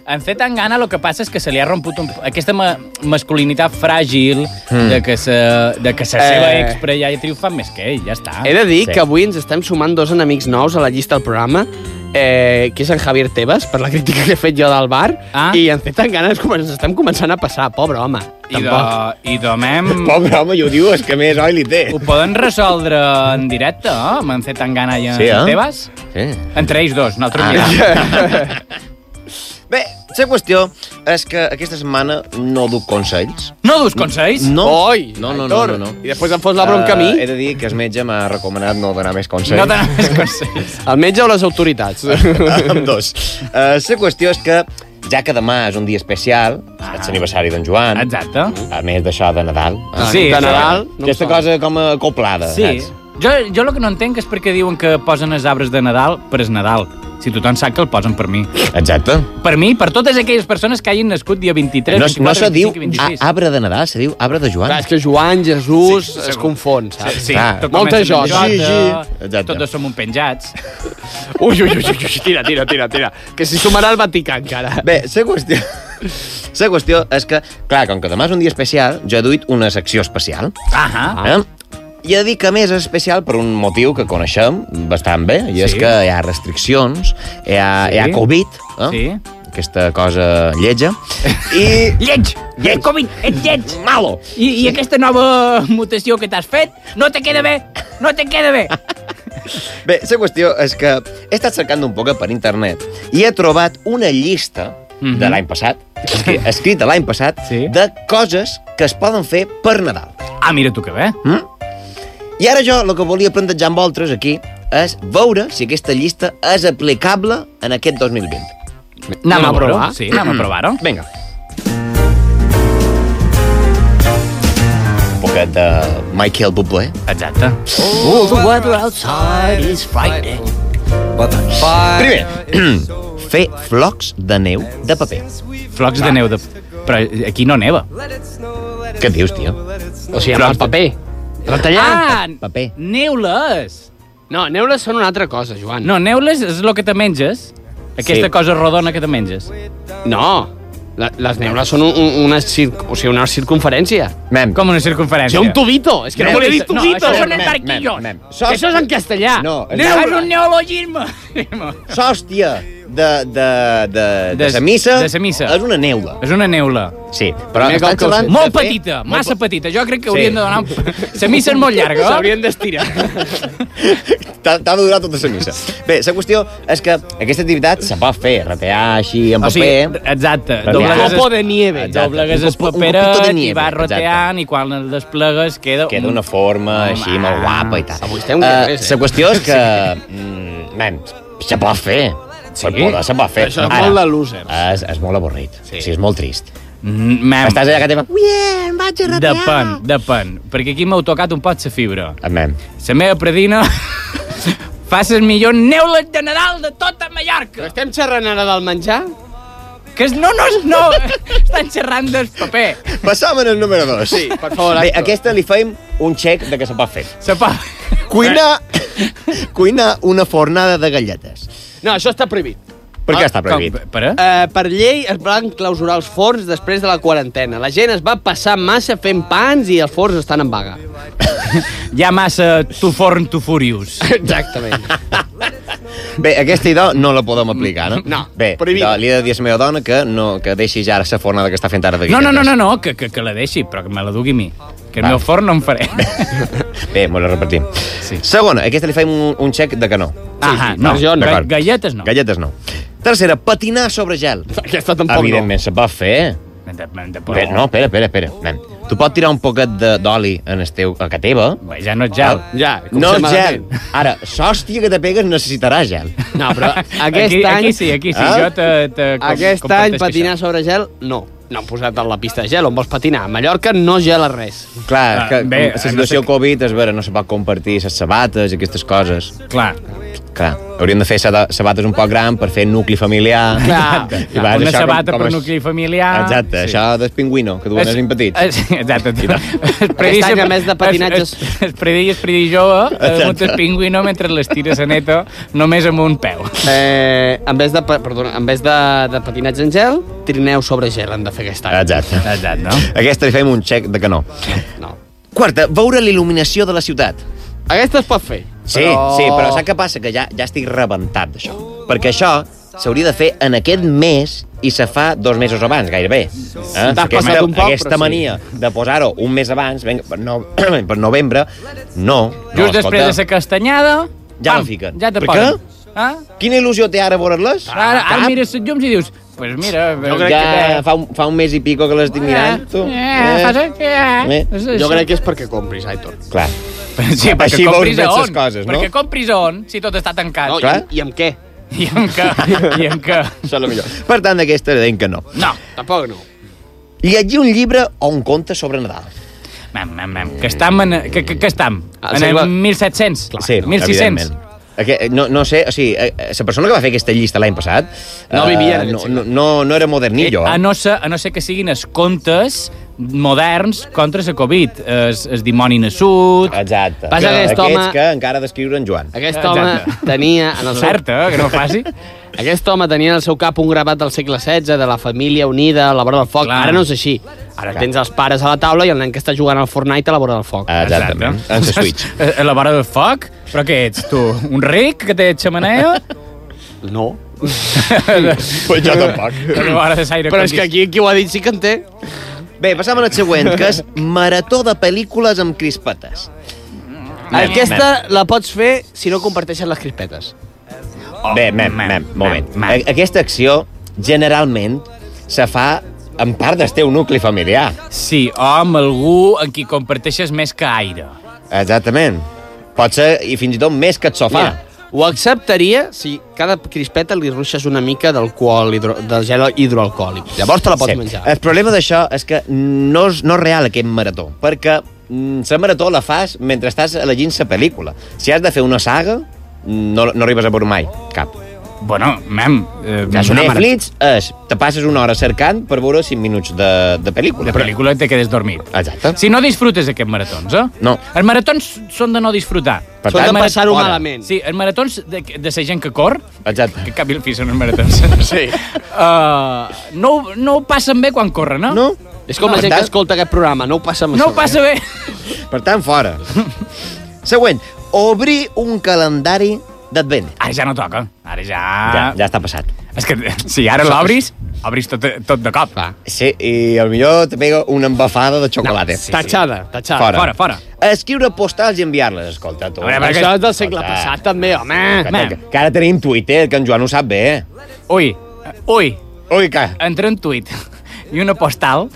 En fet, tan gana, el que passa és que se li ha romput un... aquesta ma masculinitat fràgil mm. de que se, de que se Hmm. Eh. seva expre ja hi triomfa més que ell, ja està. He de dir Sí. que avui ens estem sumant dos enemics nous a la llista del programa, eh, que és en Javier Tebas, per la crítica que he fet jo del bar, Ah. i en fet tan ganes com ens estem començant a passar, pobre home. I, de, Tampoc. I de mem... Pobre home, i ho diu, és que més oi li té. Ho poden resoldre en directe, eh? amb en Zetangana i en Sí, sí, eh? eh? Tebas? Sí. Entre ells dos, nosaltres ah. Bé, la qüestió és que aquesta setmana no duc consells. No dus consells? No. Oi, no, no, no, Aitor, no, no. i després em fos la bronca a mi? Eh, he de dir que el metge m'ha recomanat no donar més consells. No donar més consells. El metge o les autoritats? amb dos. Uh, la qüestió és que, ja que demà és un dia especial, ah. és l'aniversari d'en Joan, Exacte. a més d'això de Nadal. Ah, Sí, de Nadal. No aquesta em sona. cosa com eh, acoplada, Sí. saps? Jo, jo el que no entenc és perquè diuen que posen els arbres de Nadal per es Nadal. Si tothom sap que el posen per mi. Exacte. Per mi, per totes aquelles persones que hagin nascut dia 23, No, 24, no se diu 25 i 26. a- arbre de Nadal, se diu arbre de Joan. Clar, és que Joan, Jesús, Sí, sí, es segur. confon, saps? Sí, Clar. tot Molta comença amb joc. Jota, Sí, sí. Exacte. Tots dos som un penjats. Ui, ui, ui, ui, ui, tira, tira, tira, tira. Que s'hi sumarà el Vaticà, encara. Bé, la qüestió... La qüestió és que, clar, com que demà és un dia especial, jo he duit una secció especial. Ahà. Ah. Eh? I he de dir que, a més, és especial per un motiu que coneixem bastant bé, i sí. és Sí. que hi ha restriccions, hi ha, sí. hi ha Sí. Covid, eh? Sí. aquesta cosa lletja, i... Lleig! Lleig. Covid, ets lleig! Malo! I, I aquesta nova mutació que t'has fet no te queda bé, no te queda bé. Bé, la qüestió és que he estat cercant un poc per internet i he trobat una llista Mhm. de l'any passat, escri- escrita l'any passat, Sí. de coses que es poden fer per Nadal. Ah, mira tu que bé. I ara jo el que volia plantejar amb vosaltres aquí és veure si aquesta llista és aplicable en aquest 2020. Anem a provar. Sí, anem a provar-ho. Vinga. Un poquet de Michael Bublé. Exacte. Oh, the weather outside is frightening. doncs, Primer, fer flocs de neu de paper. Flocs de neu de... Però aquí no neva. Què dius, tio? O sigui, amb el paper. Retallar. Ah, Paper. neules! No, neules són una altra cosa, Joan. No, neules és el que te menges. Aquesta Sí. cosa rodona que te menges. No, la- les neules són un, un, una, circ, o sigui, una circunferència. Mem. Com una circunferència. Sí, un tubito. És que no Mem. volia dir No, tubito. això són Mem, entarquillos. mem, mem. Això és en castellà. No, Neu- exacte. És un Ah, neologisme. S'hòstia de, de, de, de, De- sa missa, de sa missa. és una neula. És una neula. Sí, però Primer estan cop que ho xerrant... de Molt fer- petita, molt massa pe- petita. Jo crec que Sí. haurien de donar... Un... La missa és molt llarga, eh? S'haurien d'estirar. T'ha t'ha de durar tota la missa. Bé, la qüestió és que aquesta activitat se pot fer, retear així en O paper... sigui, exacte. Paper. Doblegues, Copo de nieve. Exacte. doblegues Un el copo- un paperet copito de i nieve, vas exacte. roteant i quan el desplegues queda... queda un- una forma Home. així molt guapa i tal. Avui estem guapes, eh? La qüestió és que... mm, Nen, se pot fer. Sí? Per poder, se pot fer. eh, Això és molt de losers. És, és molt avorrit. Sí. O sigui, és molt trist. Mm, Mem, Estàs allà a casa teva... Ui, depèn, depèn. Perquè aquí m'heu tocat un pot de fibra. Amén. La meva predina fa les millors neules de Nadal de tota Mallorca. Estem xerrant ara del menjar? Que és, no, no, no, estan xerrant del paper. Passam en el número 2. Sí, per favor, Bé, Héctor. aquesta li feim un xec de que se pot fer. Se pa... Cuinar, Eh. cuinar una fornada de galletes. No, això està prohibit. Per Ah, què està prohibit? Com, per, eh? Uh, per llei es van clausurar els forns després de la quarantena. La gent es va passar massa fent pans i els forns estan en vaga. Hi ha massa tu forn, tu furious. Exactament. Bé, aquesta idò no la podem aplicar, no? No, Bé, prohibida. idò, li he de dir a la meva dona que, no, que deixi ja la fornada que està fent ara de No, galletes. no, no, no, no que, que, que la deixi, però que me la dugui a mi. Que el Va. meu forn no em faré. Bé, molt la repetim. Sí. Segona, aquesta li fem un, un xec de que no. Ahà, no. versió no. Ga- D'acord. Galletes no. Galletes no. Tercera, patinar sobre gel. Aquesta tampoc Evidentment, se va fer. De, de, de, Però... No, espera, espera, espera. Nen. tu pot tirar un poquet de- d'oli en el teu, a que teva. Bé, ja no és gel. Ja, com No sembla és gel. malament. Ara, s'hòstia que te pegues necessitarà gel. No, Ah, però aquest aquí, any... Aquí sí, aquí sí. Ah? Jo te, te, com, Aquest comparteixo any això. patinar sobre gel, no. No han posat en la pista de gel, on vols patinar? A Mallorca no gela res. Clar, Ah, que bé, bé, la no sé què- situació no sé... Covid, és vera, no se pot compartir les sabates i aquestes coses. Clar. Clar, hauríem de fer saba- sabates un poc gran per fer nucli familiar. Clar. I vas, Una això sabata per és- nucli familiar. Exacte, sí. això del pingüino, que duen els impetits. Es, eh, exacte. Aquest any, a més de patinatges- Es, es predi i es predi jove, Exacte. eh, muntes pingüino mentre les tires a neto només amb un peu. Eh, en vez de, pa- perdona, en vez de, de patinatge en gel, trineu sobre gel han de fer aquest any. Exacte. Exacte, no? Aquesta li fem un xec de que no. No. Quarta, veure il·luminació de la ciutat. Aquesta es pot fer. Sí, però... sí, però saps què passa? Que ja, ja estic rebentat d'això. Perquè això s'hauria de fer en aquest mes i se fa dos mesos abans, gairebé. Eh? passat un poc, però aquesta sí. mania de posar-ho un mes abans, venga, per, no, per novembre, no. no Just després de la castanyada... Ja la pam, fiquen. Ja te Per posen. què? Ah? Quina il·lusió té ara veure-les? Ara, ara Cap. mires les llums i dius... Pues mira... Jo crec ja que fa, un, fa un mes i pico que l'estic mirant, tu. Eh, eh, Eh. eh. Jo crec que és perquè compris, Aitor. Clar. Sí, perquè Així veus compris a més les on? coses, no? Perquè compris a on, si tot està tancat? No, i, i, Clar. I amb què? I en què? I en què? Això és el millor. Per tant, d'aquesta deien que no. No. Tampoc no. Llegir un llibre o un conte sobre Nadal. Mam, mam, Eh. mam. Que estam en... Que, que, que estam? Ah, Al en segle- el 1700? no, 1600? evidentment. Aquest, eh, no, no sé, o sigui, eh, la persona que va fer aquesta llista l'any passat... No eh, vivia en aquest ah, no, segle. no, no, no era modernillo, A eh? no, ser, a no ser que siguin els contes moderns contra la Covid. Es, es dimoni nassut... Exacte. Passa que aquest aquests home- que encara ha d'escriure en Joan. Aquest home Exacte. tenia en el seu, Cert, eh, que no ho faci. aquest home tenia en el seu cap un gravat del segle XVI de la família unida a la vora del foc. Clar. Clar. Ara no és així. Ara Clar. Ah, tens els pares a la taula i el nen que està jugant al Fortnite a la vora del foc. Exactament. En la Switch. Eh, A a la vora del foc? Però què ets, tu? Un ric que té xamanea? No. Pues jo tampoc. A la vora de l'aire Però és que aquí qui ho ha dit sí que en té. Bé, passam a la següent, que és marató de pel·lícules amb crispetes. Aquesta la pots fer si no comparteixen les crispetes. Oh, Bé, mem, mem, mem, moment. mem, mem. A- Aquesta acció, generalment, se fa en part del teu nucli familiar. Sí, o amb algú en qui comparteixes més que aire. Exactament. Pot ser, i fins i tot més que el sofà. Mira, ho acceptaria si cada crispeta li ruixes una mica d'alcohol, hidro, de gel hidroalcohòlic. Llavors te la pots Sí. Eh, menjar. El problema d'això és que no és, no és real aquest marató, perquè mm, la marató la fas mentre estàs elegint la pel·lícula. Si has de fer una saga, no, no arribes a veure mai cap. Bueno, mem... Eh, Ja una mare- Netflix és, te passes una hora cercant per veure 5 minuts de, de pel·lícula. De pel·lícula te quedes dormit. Exacte. Si no disfrutes aquest maratons, eh? No. Els maratons són de no disfrutar. Per Són tant, de marat- passar-ho Hora. malament. Sí, els maratons de, de la gent que cor, Exacte. que cap i el fi són els maratons. Sí. Uh, no, ho- no ho passen bé quan corren, no? No? És com la Per gent que tant- escolta aquest programa, no ho passa amb eh? No ho passa bé. Per tant, fora. Següent. Obrir un calendari d'advent. Ara ja no toca. Ara ja... Ja, Ah. ja està passat. És que si ara l'obris, obris tot, tot de cop. Va. Sí, i al millor te pega una embafada de xocolata. Sí, tachada, tachada. Fora. Fora, fora. Escriure postals i enviar-les, escolta, tu. A veure, perquè- Això és del segle Escolta, passat, també, home. escolta, Que, que ara tenim Twitter, que en Joan ho sap bé. eh? Ui, ui, Ui, que... entre un tuit i una postal...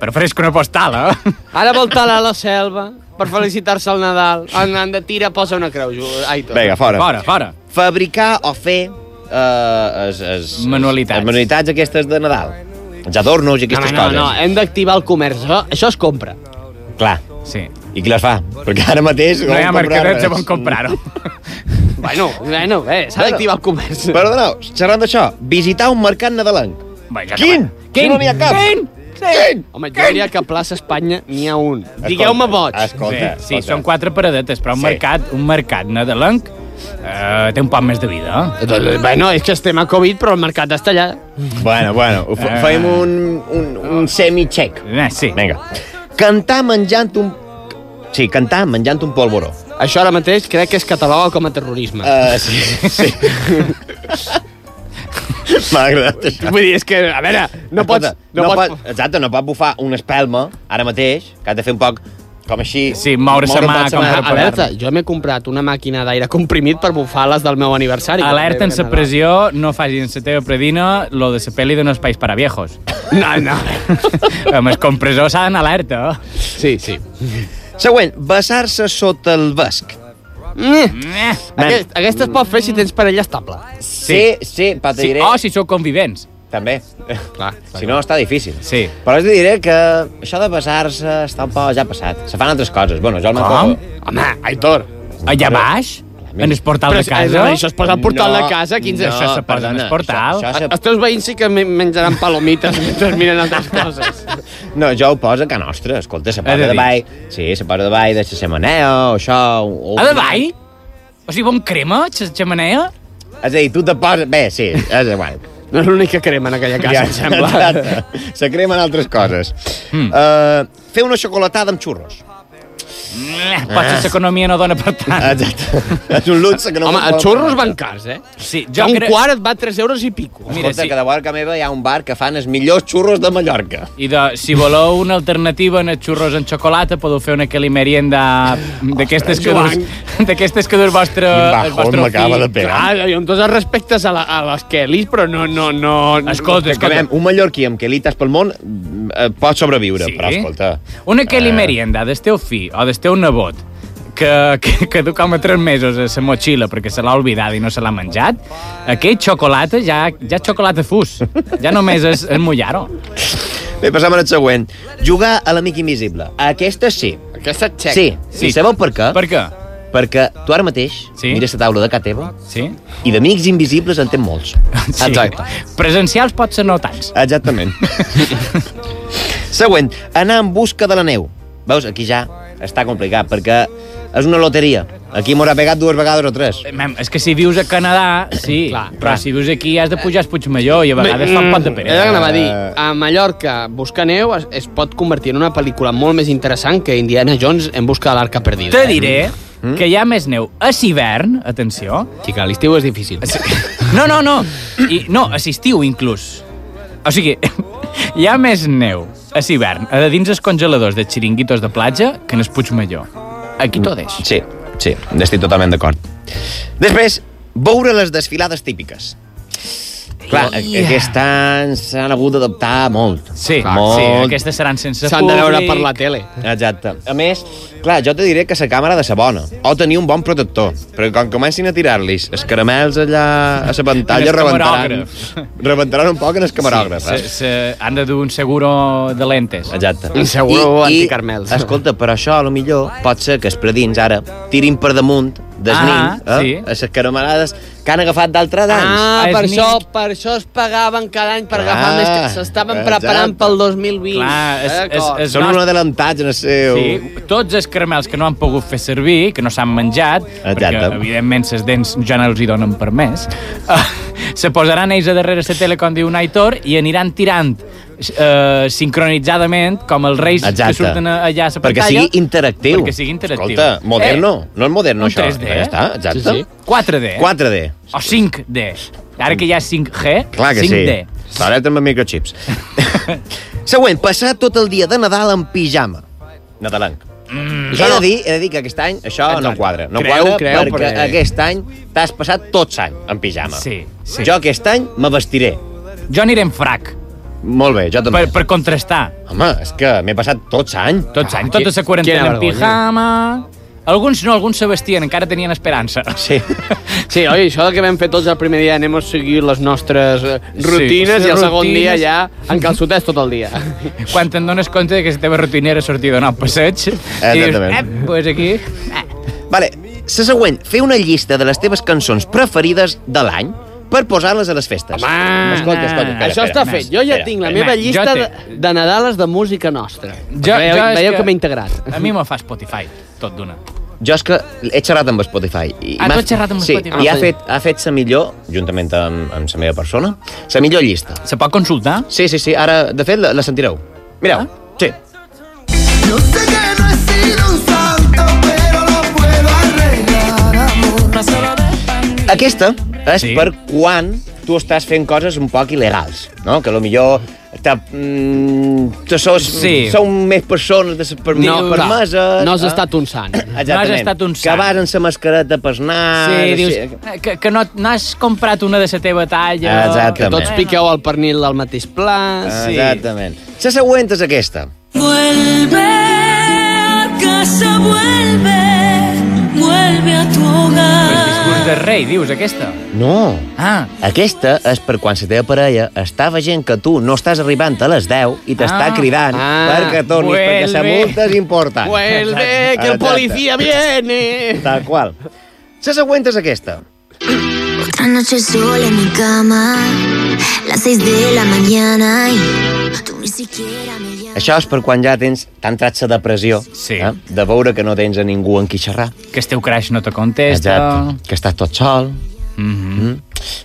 Però fresca una postal, eh? Ara volta a la selva per felicitar-se al Nadal. En, en de tira posa una creu. Ju- Ai, tot. Vinga, fora. Eh, Fora, fora. Fabricar o fer eh, es, es, Manualitats. Es, manualitats aquestes de Nadal. Els adornos i No, aquestes no, no, coses. hem d'activar el comerç. Això, això es compra. no. Clar. Sí. I qui les fa? Perquè ara mateix... eh. No hi ha volen comprar mercadets res. on comprar-ho. Bueno, bueno, bé, s'ha d'activar el comerç. Perdoneu, xerrant d'això, visitar un mercat nadalenc. Va, ja Quin? acabem. Si Quin? no n'hi ha cap. Quin? Quin? Eh, Home, jo diria que a plaça Espanya n'hi ha un. Digueu-me boig. Escolta, sí, sí escolta. són quatre paradetes, però un Sí. mercat, un mercat nadalenc eh, té un poc més de vida. eh? Doncs, Bueno, és que estem a Covid, però el mercat està allà. Bueno, bueno, ho fa- Eh. fem un, un, un semi-check. Eh, sí. Vinga. Cantar menjant un... Sí, cantar menjant un polvoró. Això ara mateix crec que es cataloga com a terrorisme. Eh, Uh, sí, sí. M'ha agradat això. Vull dir, és que, a veure, no pots... Escolta, no pot, exacte, no pot bufar una espelma ara mateix, que has de fer un poc... com així... Sí, moure-se moure mà, massa com per poder- Alerta, jo m'he comprat una màquina d'aire comprimit per bufar-les del meu aniversari. Alerta en sa pressió, no facin sa teva predina lo de sa peli de no espais para viejos. No, no. Amb els compressors s'ha d'anar alerta. Sí, sí. Següent, besar-se sota el basc. Mm. Eh. Aquest, aquesta es pot fer si tens parella estable. Sí, sí, però Sí, te diré... o si sou convivents. També. Clar, Si no, està difícil. Sí. Però us diré que això de besar-se està un poc ja passat. Se fan altres coses. Bueno, jo el Com? Home, Aitor. Allà baix? En el portal Però de si- eh, casa? Això es posa al portal de casa, 15... no, això se posa eh? en el portal. Això, això Els teus veïns sí que men- menjaran palomites mentre miren altres coses. se... No, jo ho poso a Can Nostra. Escolta, se Has de posa dir. davall... Sí, se posa davall de la xamanea o això... O... A davall? O sigui, bon crema, la xamanea? És a dir, tu te poses... Bé, sí, és igual. No és l'únic que crema en aquella casa, em sembla. Exacte. Se cremen altres coses. Mm. Uh, fer una xocolatada amb xurros. Eh, Potser l'economia no dona per tant. Exacte. és un luxe que no... Home, me'n els puc xurros van cars, eh? Sí, Jo jo un crec- quart et va 3 euros i pico. Mira, Escolta, sí. sí. que de barca meva hi ha un bar que fan els millors xurros de Mallorca. I de, si voleu una alternativa en els xurros en xocolata, podeu fer una calimerienda d'aquestes que durs, d'aquestes que durs vostre, Quin el bajón vostre m'acaba de pegar. Clar, jo amb tots els respectes a, la, a les Kellys, però no... no, no Escolta, Que escolta, veiem, un mallorquí amb quelites pel món eh, pot sobreviure, Sí. sí. però escolta... eh. Una calimerienda del teu fill o del teu nebot que, que, que du com a tres mesos a la motxilla perquè se l'ha oblidat i no se l'ha menjat, aquest xocolata ja, ja és xocolata fus. Ja només és, és mullar-ho. Bé, passam al següent. Jugar a l'amic invisible. Aquesta sí. Aquesta xec. Sí, sí. I sabeu per què? Per què? Perquè tu ara mateix Sí. sí. mires la taula de casa teva Sí? i d'amics invisibles en tens molts. sí. Exacte. Presencials pot ser no tants. Exactament. Següent, anar en busca de la neu. Veus, aquí ja està complicat, perquè és una loteria. Aquí m'ho ha pegat dues vegades o tres. Eh, Mem, és que si vius a Canadà, sí, clar, Clar, però clar. si vius aquí has de pujar al Puigmalló i a vegades fa un pot de Era que peresa. anava a dir, a Mallorca, buscar neu es, es pot convertir en una pel·lícula molt més interessant que Indiana Jones en busca de l'arca perdida. Te diré Mm. que hi ha més neu a l'hivern, atenció, Sí, que a Mm. l'estiu és difícil. No, no, no. I, no, assistiu, inclús. O sigui, hi ha més neu a l'hivern a dins els congeladors de xiringuitos de platja que en el Puigmalló. Aquí t'ho deix. Sí, sí, estic totalment d'acord. Després, veure les desfilades típiques. Clar, yeah. aquest any s'han hagut d'adaptar molt. Sí, molt. sí, aquestes seran sense S'han de veure per la públic. tele. Exacte. A més, clar, jo te diré que la càmera ha de ser bona, o tenir un bon protector, perquè quan comencin a tirar-los els caramels allà a la pantalla En el rebentaran, camarògraf. rebentaran un poc en el camarògraf. Se, eh? se, han de dur un seguro de lentes. Exacte. Un seguro anticarmels. Escolta, però això, a lo millor, pot ser que els predins ara tirin per damunt des Ah, nins, eh? sí. a les caramelades que han agafat d'altres anys. Ah, Ah, per és això, mic. per això es pagaven cada any per Ah, agafar més que s'estaven exacte. preparant pel 2020. Clar, és- és- D'acord. és- Són nostre- un adelantatge en el seu... Sí, tots els caramels que no han pogut fer servir, que no s'han menjat, perquè Exacte. evidentment ses dents ja no els hi donen per més, ah, se posaran ells a darrere la tele, com diu un Aitor, i aniran tirant eh, sincronitzadament, com els reis Exacte. que surten a- allà a la Perquè pantalla. sigui interactiu. Perquè sigui interactiu. Escolta, moderno. Eh, no és moderno, un eh? això. 3D. Ja està, exacte. Sí, sí. 4D. 4D. O 5D. Ara que hi ha 5G, Clar que 5D. sí. Farem amb microchips. Següent, passar tot el dia de Nadal en pijama. Nadalenc. Mm. He, de dir, he de dir que aquest any això no quadra. No Creu, quadra creu, perquè perquè- aquest any t'has passat tot l'any en pijama. Sí, sí. Ah, Jo aquest any me vestiré. Jo aniré en frac, Molt bé, jo també. per, per contrastar. Home, és que m'he passat tot l'any. Tots anys, qui- tota la quarantena quina en vergonya. pijama... Alguns no, alguns se vestien, encara tenien esperança. Sí. Sí, oi, això del que vam fer tots el primer dia, anem a seguir les nostres eh, Sí, rutines sí, sí, i el segon rutines. dia ja en calçotets tot el dia. Quan te'n dones compte de que la teva rutina era sortir a donar un passeig, i dius, Exactament. ep, pues aquí... Vale, la següent, fer una llista de les teves cançons preferides de l'any per posar-les a les festes. Home! escolta, escolta, espera, Això espera. està fet. Jo ja Espera, tinc la espera. meva Jo llista té- de, de Nadales de música nostra. Jo, veieu és veieu que, m'he integrat. A mi me fa Spotify, tot d'una. Jo és que he xerrat amb Spotify. I Ah, m'ha- tu has xerrat amb sí, Spotify. i ha Ah, sí. fet, ha fet sa millor, juntament amb, amb la meva persona, sa millor llista. Se pot consultar? Sí, sí, sí, ara, de fet, la, la sentireu. Mireu, ah? sí. Yo sé que no he sido un santo, pero lo puedo arreglar, amor. Aquesta és Sí. sí. per quan tu estàs fent coses un poc il·legals, no? Que a lo millor Te, mm, te sos, Sí. Sou més persones de per, No, no, per clar. mesa... No has estat un sant. Exactament. No has estat un sant. Que vas amb la mascareta per anar... Sí, dius eh, que, que no, no has comprat una de la teva talla. Exactament. Que tots piqueu... Piqueu el pernil del mateix pla... sí. Ah, Exactament. La següent és aquesta. Vuelve, casa, vuelve, vuelve a tu El hogar. discurs de rei, dius, aquesta. No. Ah, Aquesta és per quan la teva parella està veient que tu no estàs arribant a les 10 i t'està Ah. cridant Ah. perquè tornis, perquè la Vuelve. multa és important. Vuelve, que el Exacte. policia viene. Tal qual. La següent és aquesta. Otra noche sola en mi cama, las seis de la mañana y tú ni siquiera me llamas. Això és per quan ja tens t'ha entrat la depressió eh? Sí. de veure que no tens a ningú en qui xerrar. que esteu crash no te contesta. Que estàs tot sol. Mm -hmm.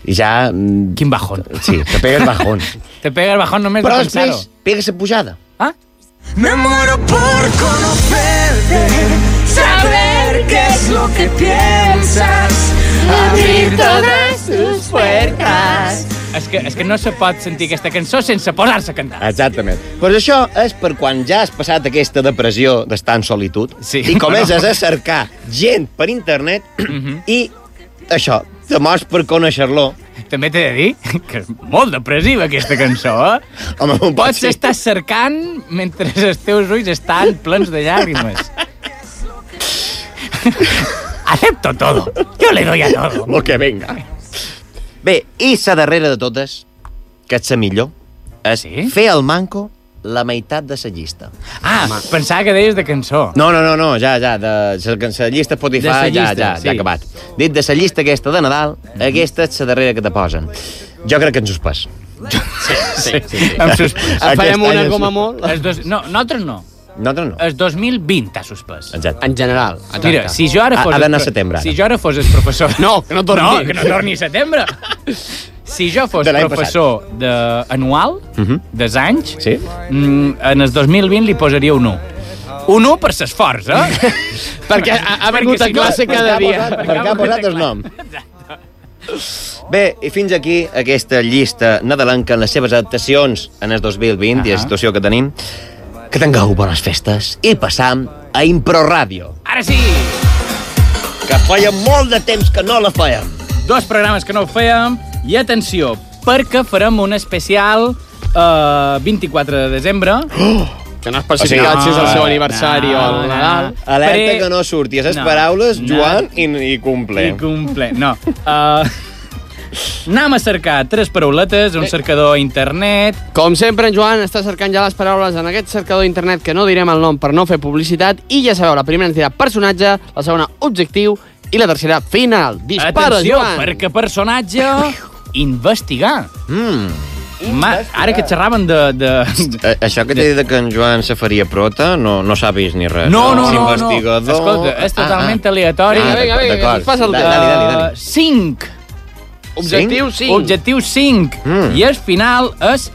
I ja... mm, Quin bajón. Sí, te pegues bajón. Te pega el bajón només Però de pensar-ho. després pegues la pujada. Ah? Me muero por conocerte, saber qué es lo que piensas, abrir todas tus puertas. És que, és que no se pot sentir aquesta cançó sense posar-se a cantar. Exactament. Però això és per quan ja has passat aquesta depressió d'estar en solitud Sí, i comences però- a cercar gent per internet Mhm. i això, te mors per conèixer-lo. També t'he de dir que és molt depressiva aquesta cançó, eh? Home, un pot Pots ser. estar cercant mentre els teus ulls estan plens de llàgrimes. Acepto todo. Yo le doy a todo. Lo que venga. Bé, i la darrera de totes, que és la millor, és Sí? fer el manco la meitat de la llista. Ah, pensava que deies de cançó. No, no, no, no ja, ja, de la can- la llista Spotify, De la ja, llista, ja, sí. ja acabat. Dit de la llista aquesta de Nadal, Mhm. aquesta és la darrera que te posen. Jo crec que ens suspès. Sí, sí, sí. Em suspès. En farem Aquest any una és- com a molt. Els dos... No, nosaltres no. Nosaltres no. El 2020 t'ha suspès. Exacte. En general. Exacte. Mira, si jo ara Ha- fos... ha d'anar el pro- a setembre, ara. Si jo ara fos el professor... No, que no torni. No, que no torni a setembre. Si jo fos De l'any Mhm. professor de anual, uh -huh. dels anys, Sí? mm, en el 2020 li posaria un 1. Un 1 per s'esforç, eh? Perquè ha, ha venut a si no- classe cada Perquè ha dia. posat- Perquè ha posat el nom. Bé, i fins aquí aquesta llista nadalenca en les seves adaptacions en el 2020 i la Ahà. situació que tenim. Que tingueu bones festes i passam a Impro Ràdio, Ara sí! que feia molt de temps que no la fèiem. Dos programes que no ho fèiem, i atenció, perquè farem un especial eh, 24 de desembre. Que no has especificat no, si és el seu no, aniversari o no, el Nadal. no. ah. Alerta Pre- que no surti a les No, paraules, no. Joan, i, i I comple. complet, no. Uh, anem a cercar tres parauletes, Eh. un cercador a internet... Com sempre, en Joan està cercant ja les paraules en aquest cercador d'internet que no direm el nom per no fer publicitat i ja sabeu, la primera ens dirà personatge, la segona objectiu i la tercera final. Dispara, Atenció, Joan! perquè personatge... investigar. Mm. Ma, ara que xerraven de... de... A- Eh, Això que t'he dit que en Joan se faria prota, no, no sabis ni res. No, eh? no, És no, no. investigador. Escolta, és totalment aleatori. Ah, Vinga, vinga, vinga, Ah, d'acord. que ens passa el Dale, temps. dale, dale, Uh, 5. Objectiu 5. Objectiu 5. Mm. I el final és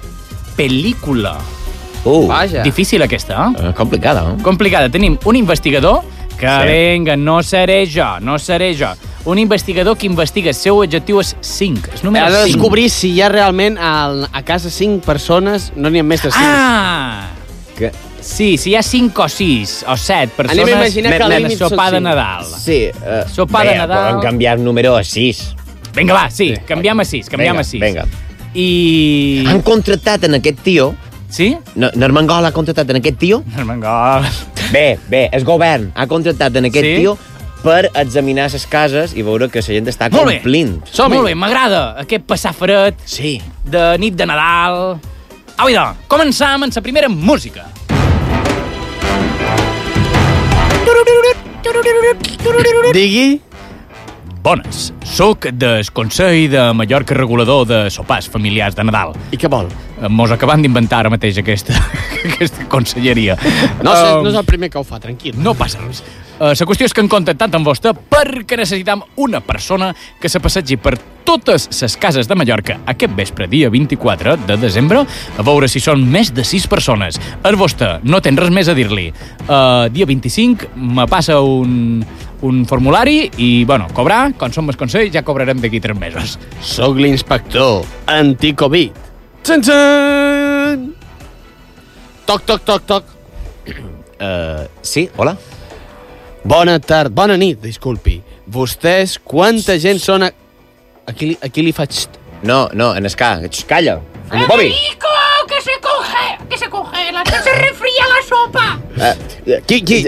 pel·lícula. dale. Vaja. Difícil aquesta, eh? Uh, és Uh, complicada, no? Complicada. Tenim un investigador que, Sí. vinga, no seré jo, no seré jo. Un investigador que investiga. El seu objectiu és 5. És Ha número de 5. descobrir si hi ha realment al, a casa 5 persones, no n'hi ha més de 5. Ah! Que... Sí, si hi ha 5 o 6 o 7 persones... Anem a imaginar que al anem a límit són sopar de cinc. Nadal. Sí. Uh, Sopar de Nadal. Poden canviar el número a 6. Vinga, va, sí, canviem a 6, canviem Vinga, a 6. vinga. I... Han contractat en aquest tio, Sí? N- Normangol ha contractat en aquest tio, Armengol. bé, bé, el govern ha contractat en aquest Sí? tio per examinar les cases i veure que la gent està Molt bé. complint. Som-hi. Molt bé, m'agrada aquest passar fred Sí. de nit de Nadal. Au, idò, començam amb la primera música. Digui... Bones, sóc del Consell de Mallorca Regulador de Sopars Familiars de Nadal. I què vol? Mos acaben d'inventar ara mateix aquesta, aquesta conselleria. No, um... Em, no és el primer que ho fa, tranquil. No passa res. Uh, la qüestió és que hem contactat amb vostè perquè necessitam una persona que se passegi per totes les cases de Mallorca aquest vespre, dia 24 de desembre, a veure si són més de 6 persones. El vostè, no tens res més a dir-li. Uh, dia 25 me passa un, un formulari i, bueno, cobrar, quan som més consell, ja cobrarem d'aquí 3 mesos. Soc l'inspector anticovid. Txan, txan! Toc, toc, toc, toc. Uh, sí, hola. Bona tarda, bona nit, disculpi. Vostès, quanta gent són... A... Aquí, li- aquí li faig... No, no, en Esca, ets- calla. En Bobby. que se coge, que se congela, que se refría la sopa. Eh, Uh, qui, qui,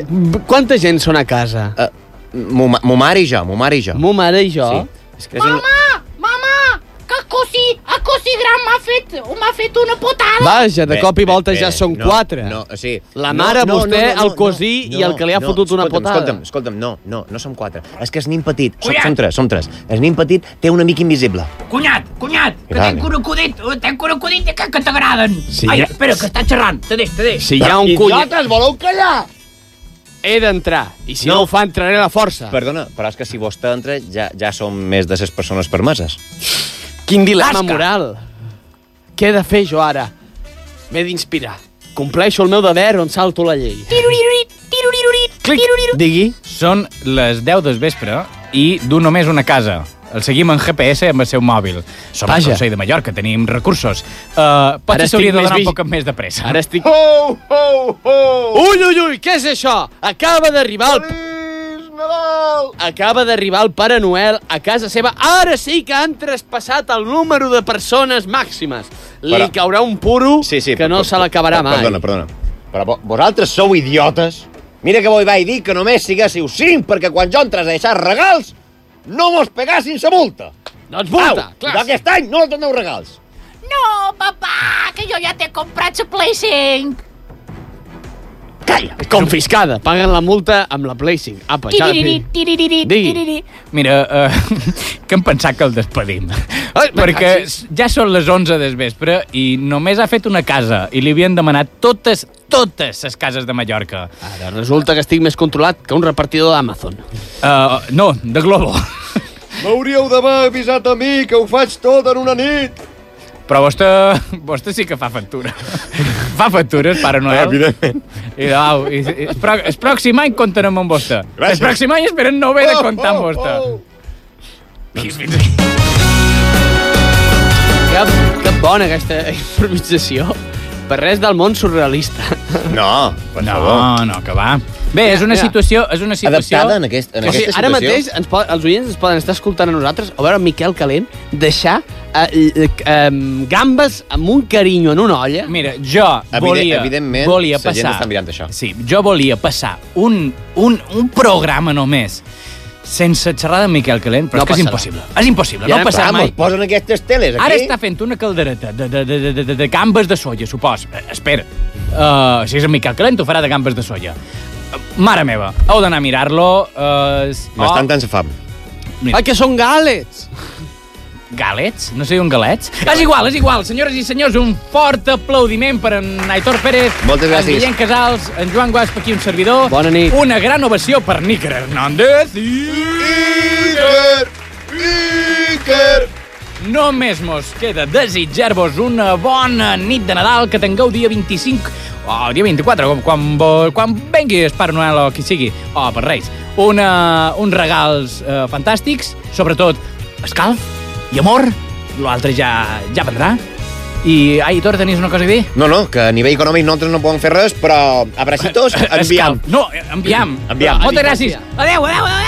quanta gent són a casa? Uh, mo mare i jo, mo mare i jo. Mo mare i jo? Sí. És que és un... Mamà, mamà, Ah, que cosí, a cosí gran m'ha fet, m'ha fet una potada. Vaja, de cop i volta ja espera, són no, quatre. No, o sigui, La mare, vostè, el cosí i el que li ha fotut una escolta'm, potada. Escolta'm, escolta'm, no, no, no som quatre. És que és nen petit. Som, som tres, som tres. El nen petit té un amic invisible. Cunyat, cunyat, que Gran. tenc crocodit, eh, tenc crocodit de que, que t'agraden. Sí, Ai, ja- espera, que està xerrant, te deix, te deix. Si hi ha un cunyat... voleu callar? He d'entrar, i si no, no ho fa, entraré a la força. Perdona, però és que si vostè entra ja, ja som més de ses persones permeses. Quin dilema moral. Què he de fer jo ara? M'he d'inspirar. Compleixo el meu deber on salto la llei. Tiruririt, tiruririt, tiruririt. Digui. Són les 10 del vespre i du només una casa. El seguim en GPS amb el seu mòbil. Som Vaja. al Consell de Mallorca, tenim recursos. Uh, Ara potser s'hauria estic de més donar vigi- un poc més de pressa. Ara estic... Ho, ho, ho! Ull, ull, ull, què és això? Acaba d'arribar el... Acaba d'arribar el Pare Noel a casa seva. Ara sí que han traspassat el número de persones màximes. Li Però- caurà un puro sí, sí, que no se l'acabarà mai. Perdona, perdona. Però vo- vosaltres sou idiotes. Mira que voi vaig dir que només siguéssiu cinc perquè quan jo entres a deixar regals no mos pegassin sa multa. Doncs multa, Au, clar. Aquest any no doneu regals. No, papà, que jo ja t'he comprat la Play 5. Confiscada. Paguen la multa amb la Play 5. Apa, ja la Tiruririt, tiruririt, Digui. tiruririt. Mira, uh, que em pensat que el despedim. Ah, perquè ja són les 11 del vespre i només ha fet una casa i li havien demanat totes, totes les cases de Mallorca. Ara resulta que estic més controlat que un repartidor d'Amazon. Uh, no, de Globo. M'hauríeu d'haver avisat a mi que ho faig tot en una nit. Però vostè, vostè sí que fa factura. fa factures, Pare Eh, Eh, Noel. Evidentment. I, au, i, i, el, pro, el pròxim any compten amb vostè. El pròxim any esperen no Oh, haver de Oh, comptar amb vostè. Que, que bona aquesta improvisació. Per res del món surrealista. No, per no, favor. no, que va. Bé, és una situació... És una situació... o sigui, Ara mateix ens po els oients ens poden estar escoltant a nosaltres o veure Miquel Calent deixar eh, eh, eh, gambes amb un carinyo en una olla. Mira, jo volia, volia passar... això. Sí, jo volia passar un, un, un programa només sense xerrar de Miquel Calent, però No no és que és passarà. impossible. És impossible, no passarà Vamos, mai. Posen aquestes teles aquí. Ara està fent una caldereta de, de, de, de, de, de, de gambes de soia, supos. Eh, espera, uh, si és en Miquel Calent ho farà de gambes de soia. Eh, Mare meva, heu d'anar a mirar-lo. Uh, Oh. M'estan tant fam. Mira. Ai, que són galets! Galets? No sé un galets? És igual, és igual. Senyores i senyors, un fort aplaudiment per en Aitor Pérez. Moltes En gràcies. Guillem Casals, en Joan Guasp, aquí un servidor. Bona nit. Una gran ovació per Níker Hernández i... Níker! Níker! Només mos queda desitjar-vos una bona nit de Nadal, que tingueu dia 25 o oh, dia 24, com- quan, vo- quan vengui el Pare Noel o qui sigui, o oh, per Reis. Una, uns regals eh, fantàstics, sobretot escalf i amor, l'altre ja, ja vendrà. I, Aitor, tenies una cosa a dir? No, no, que a nivell econòmic nosaltres no podem fer res, però abracitos, enviam. No, eh, enviam. Enviam. Moltes gràcies. Adéu, adéu, adéu.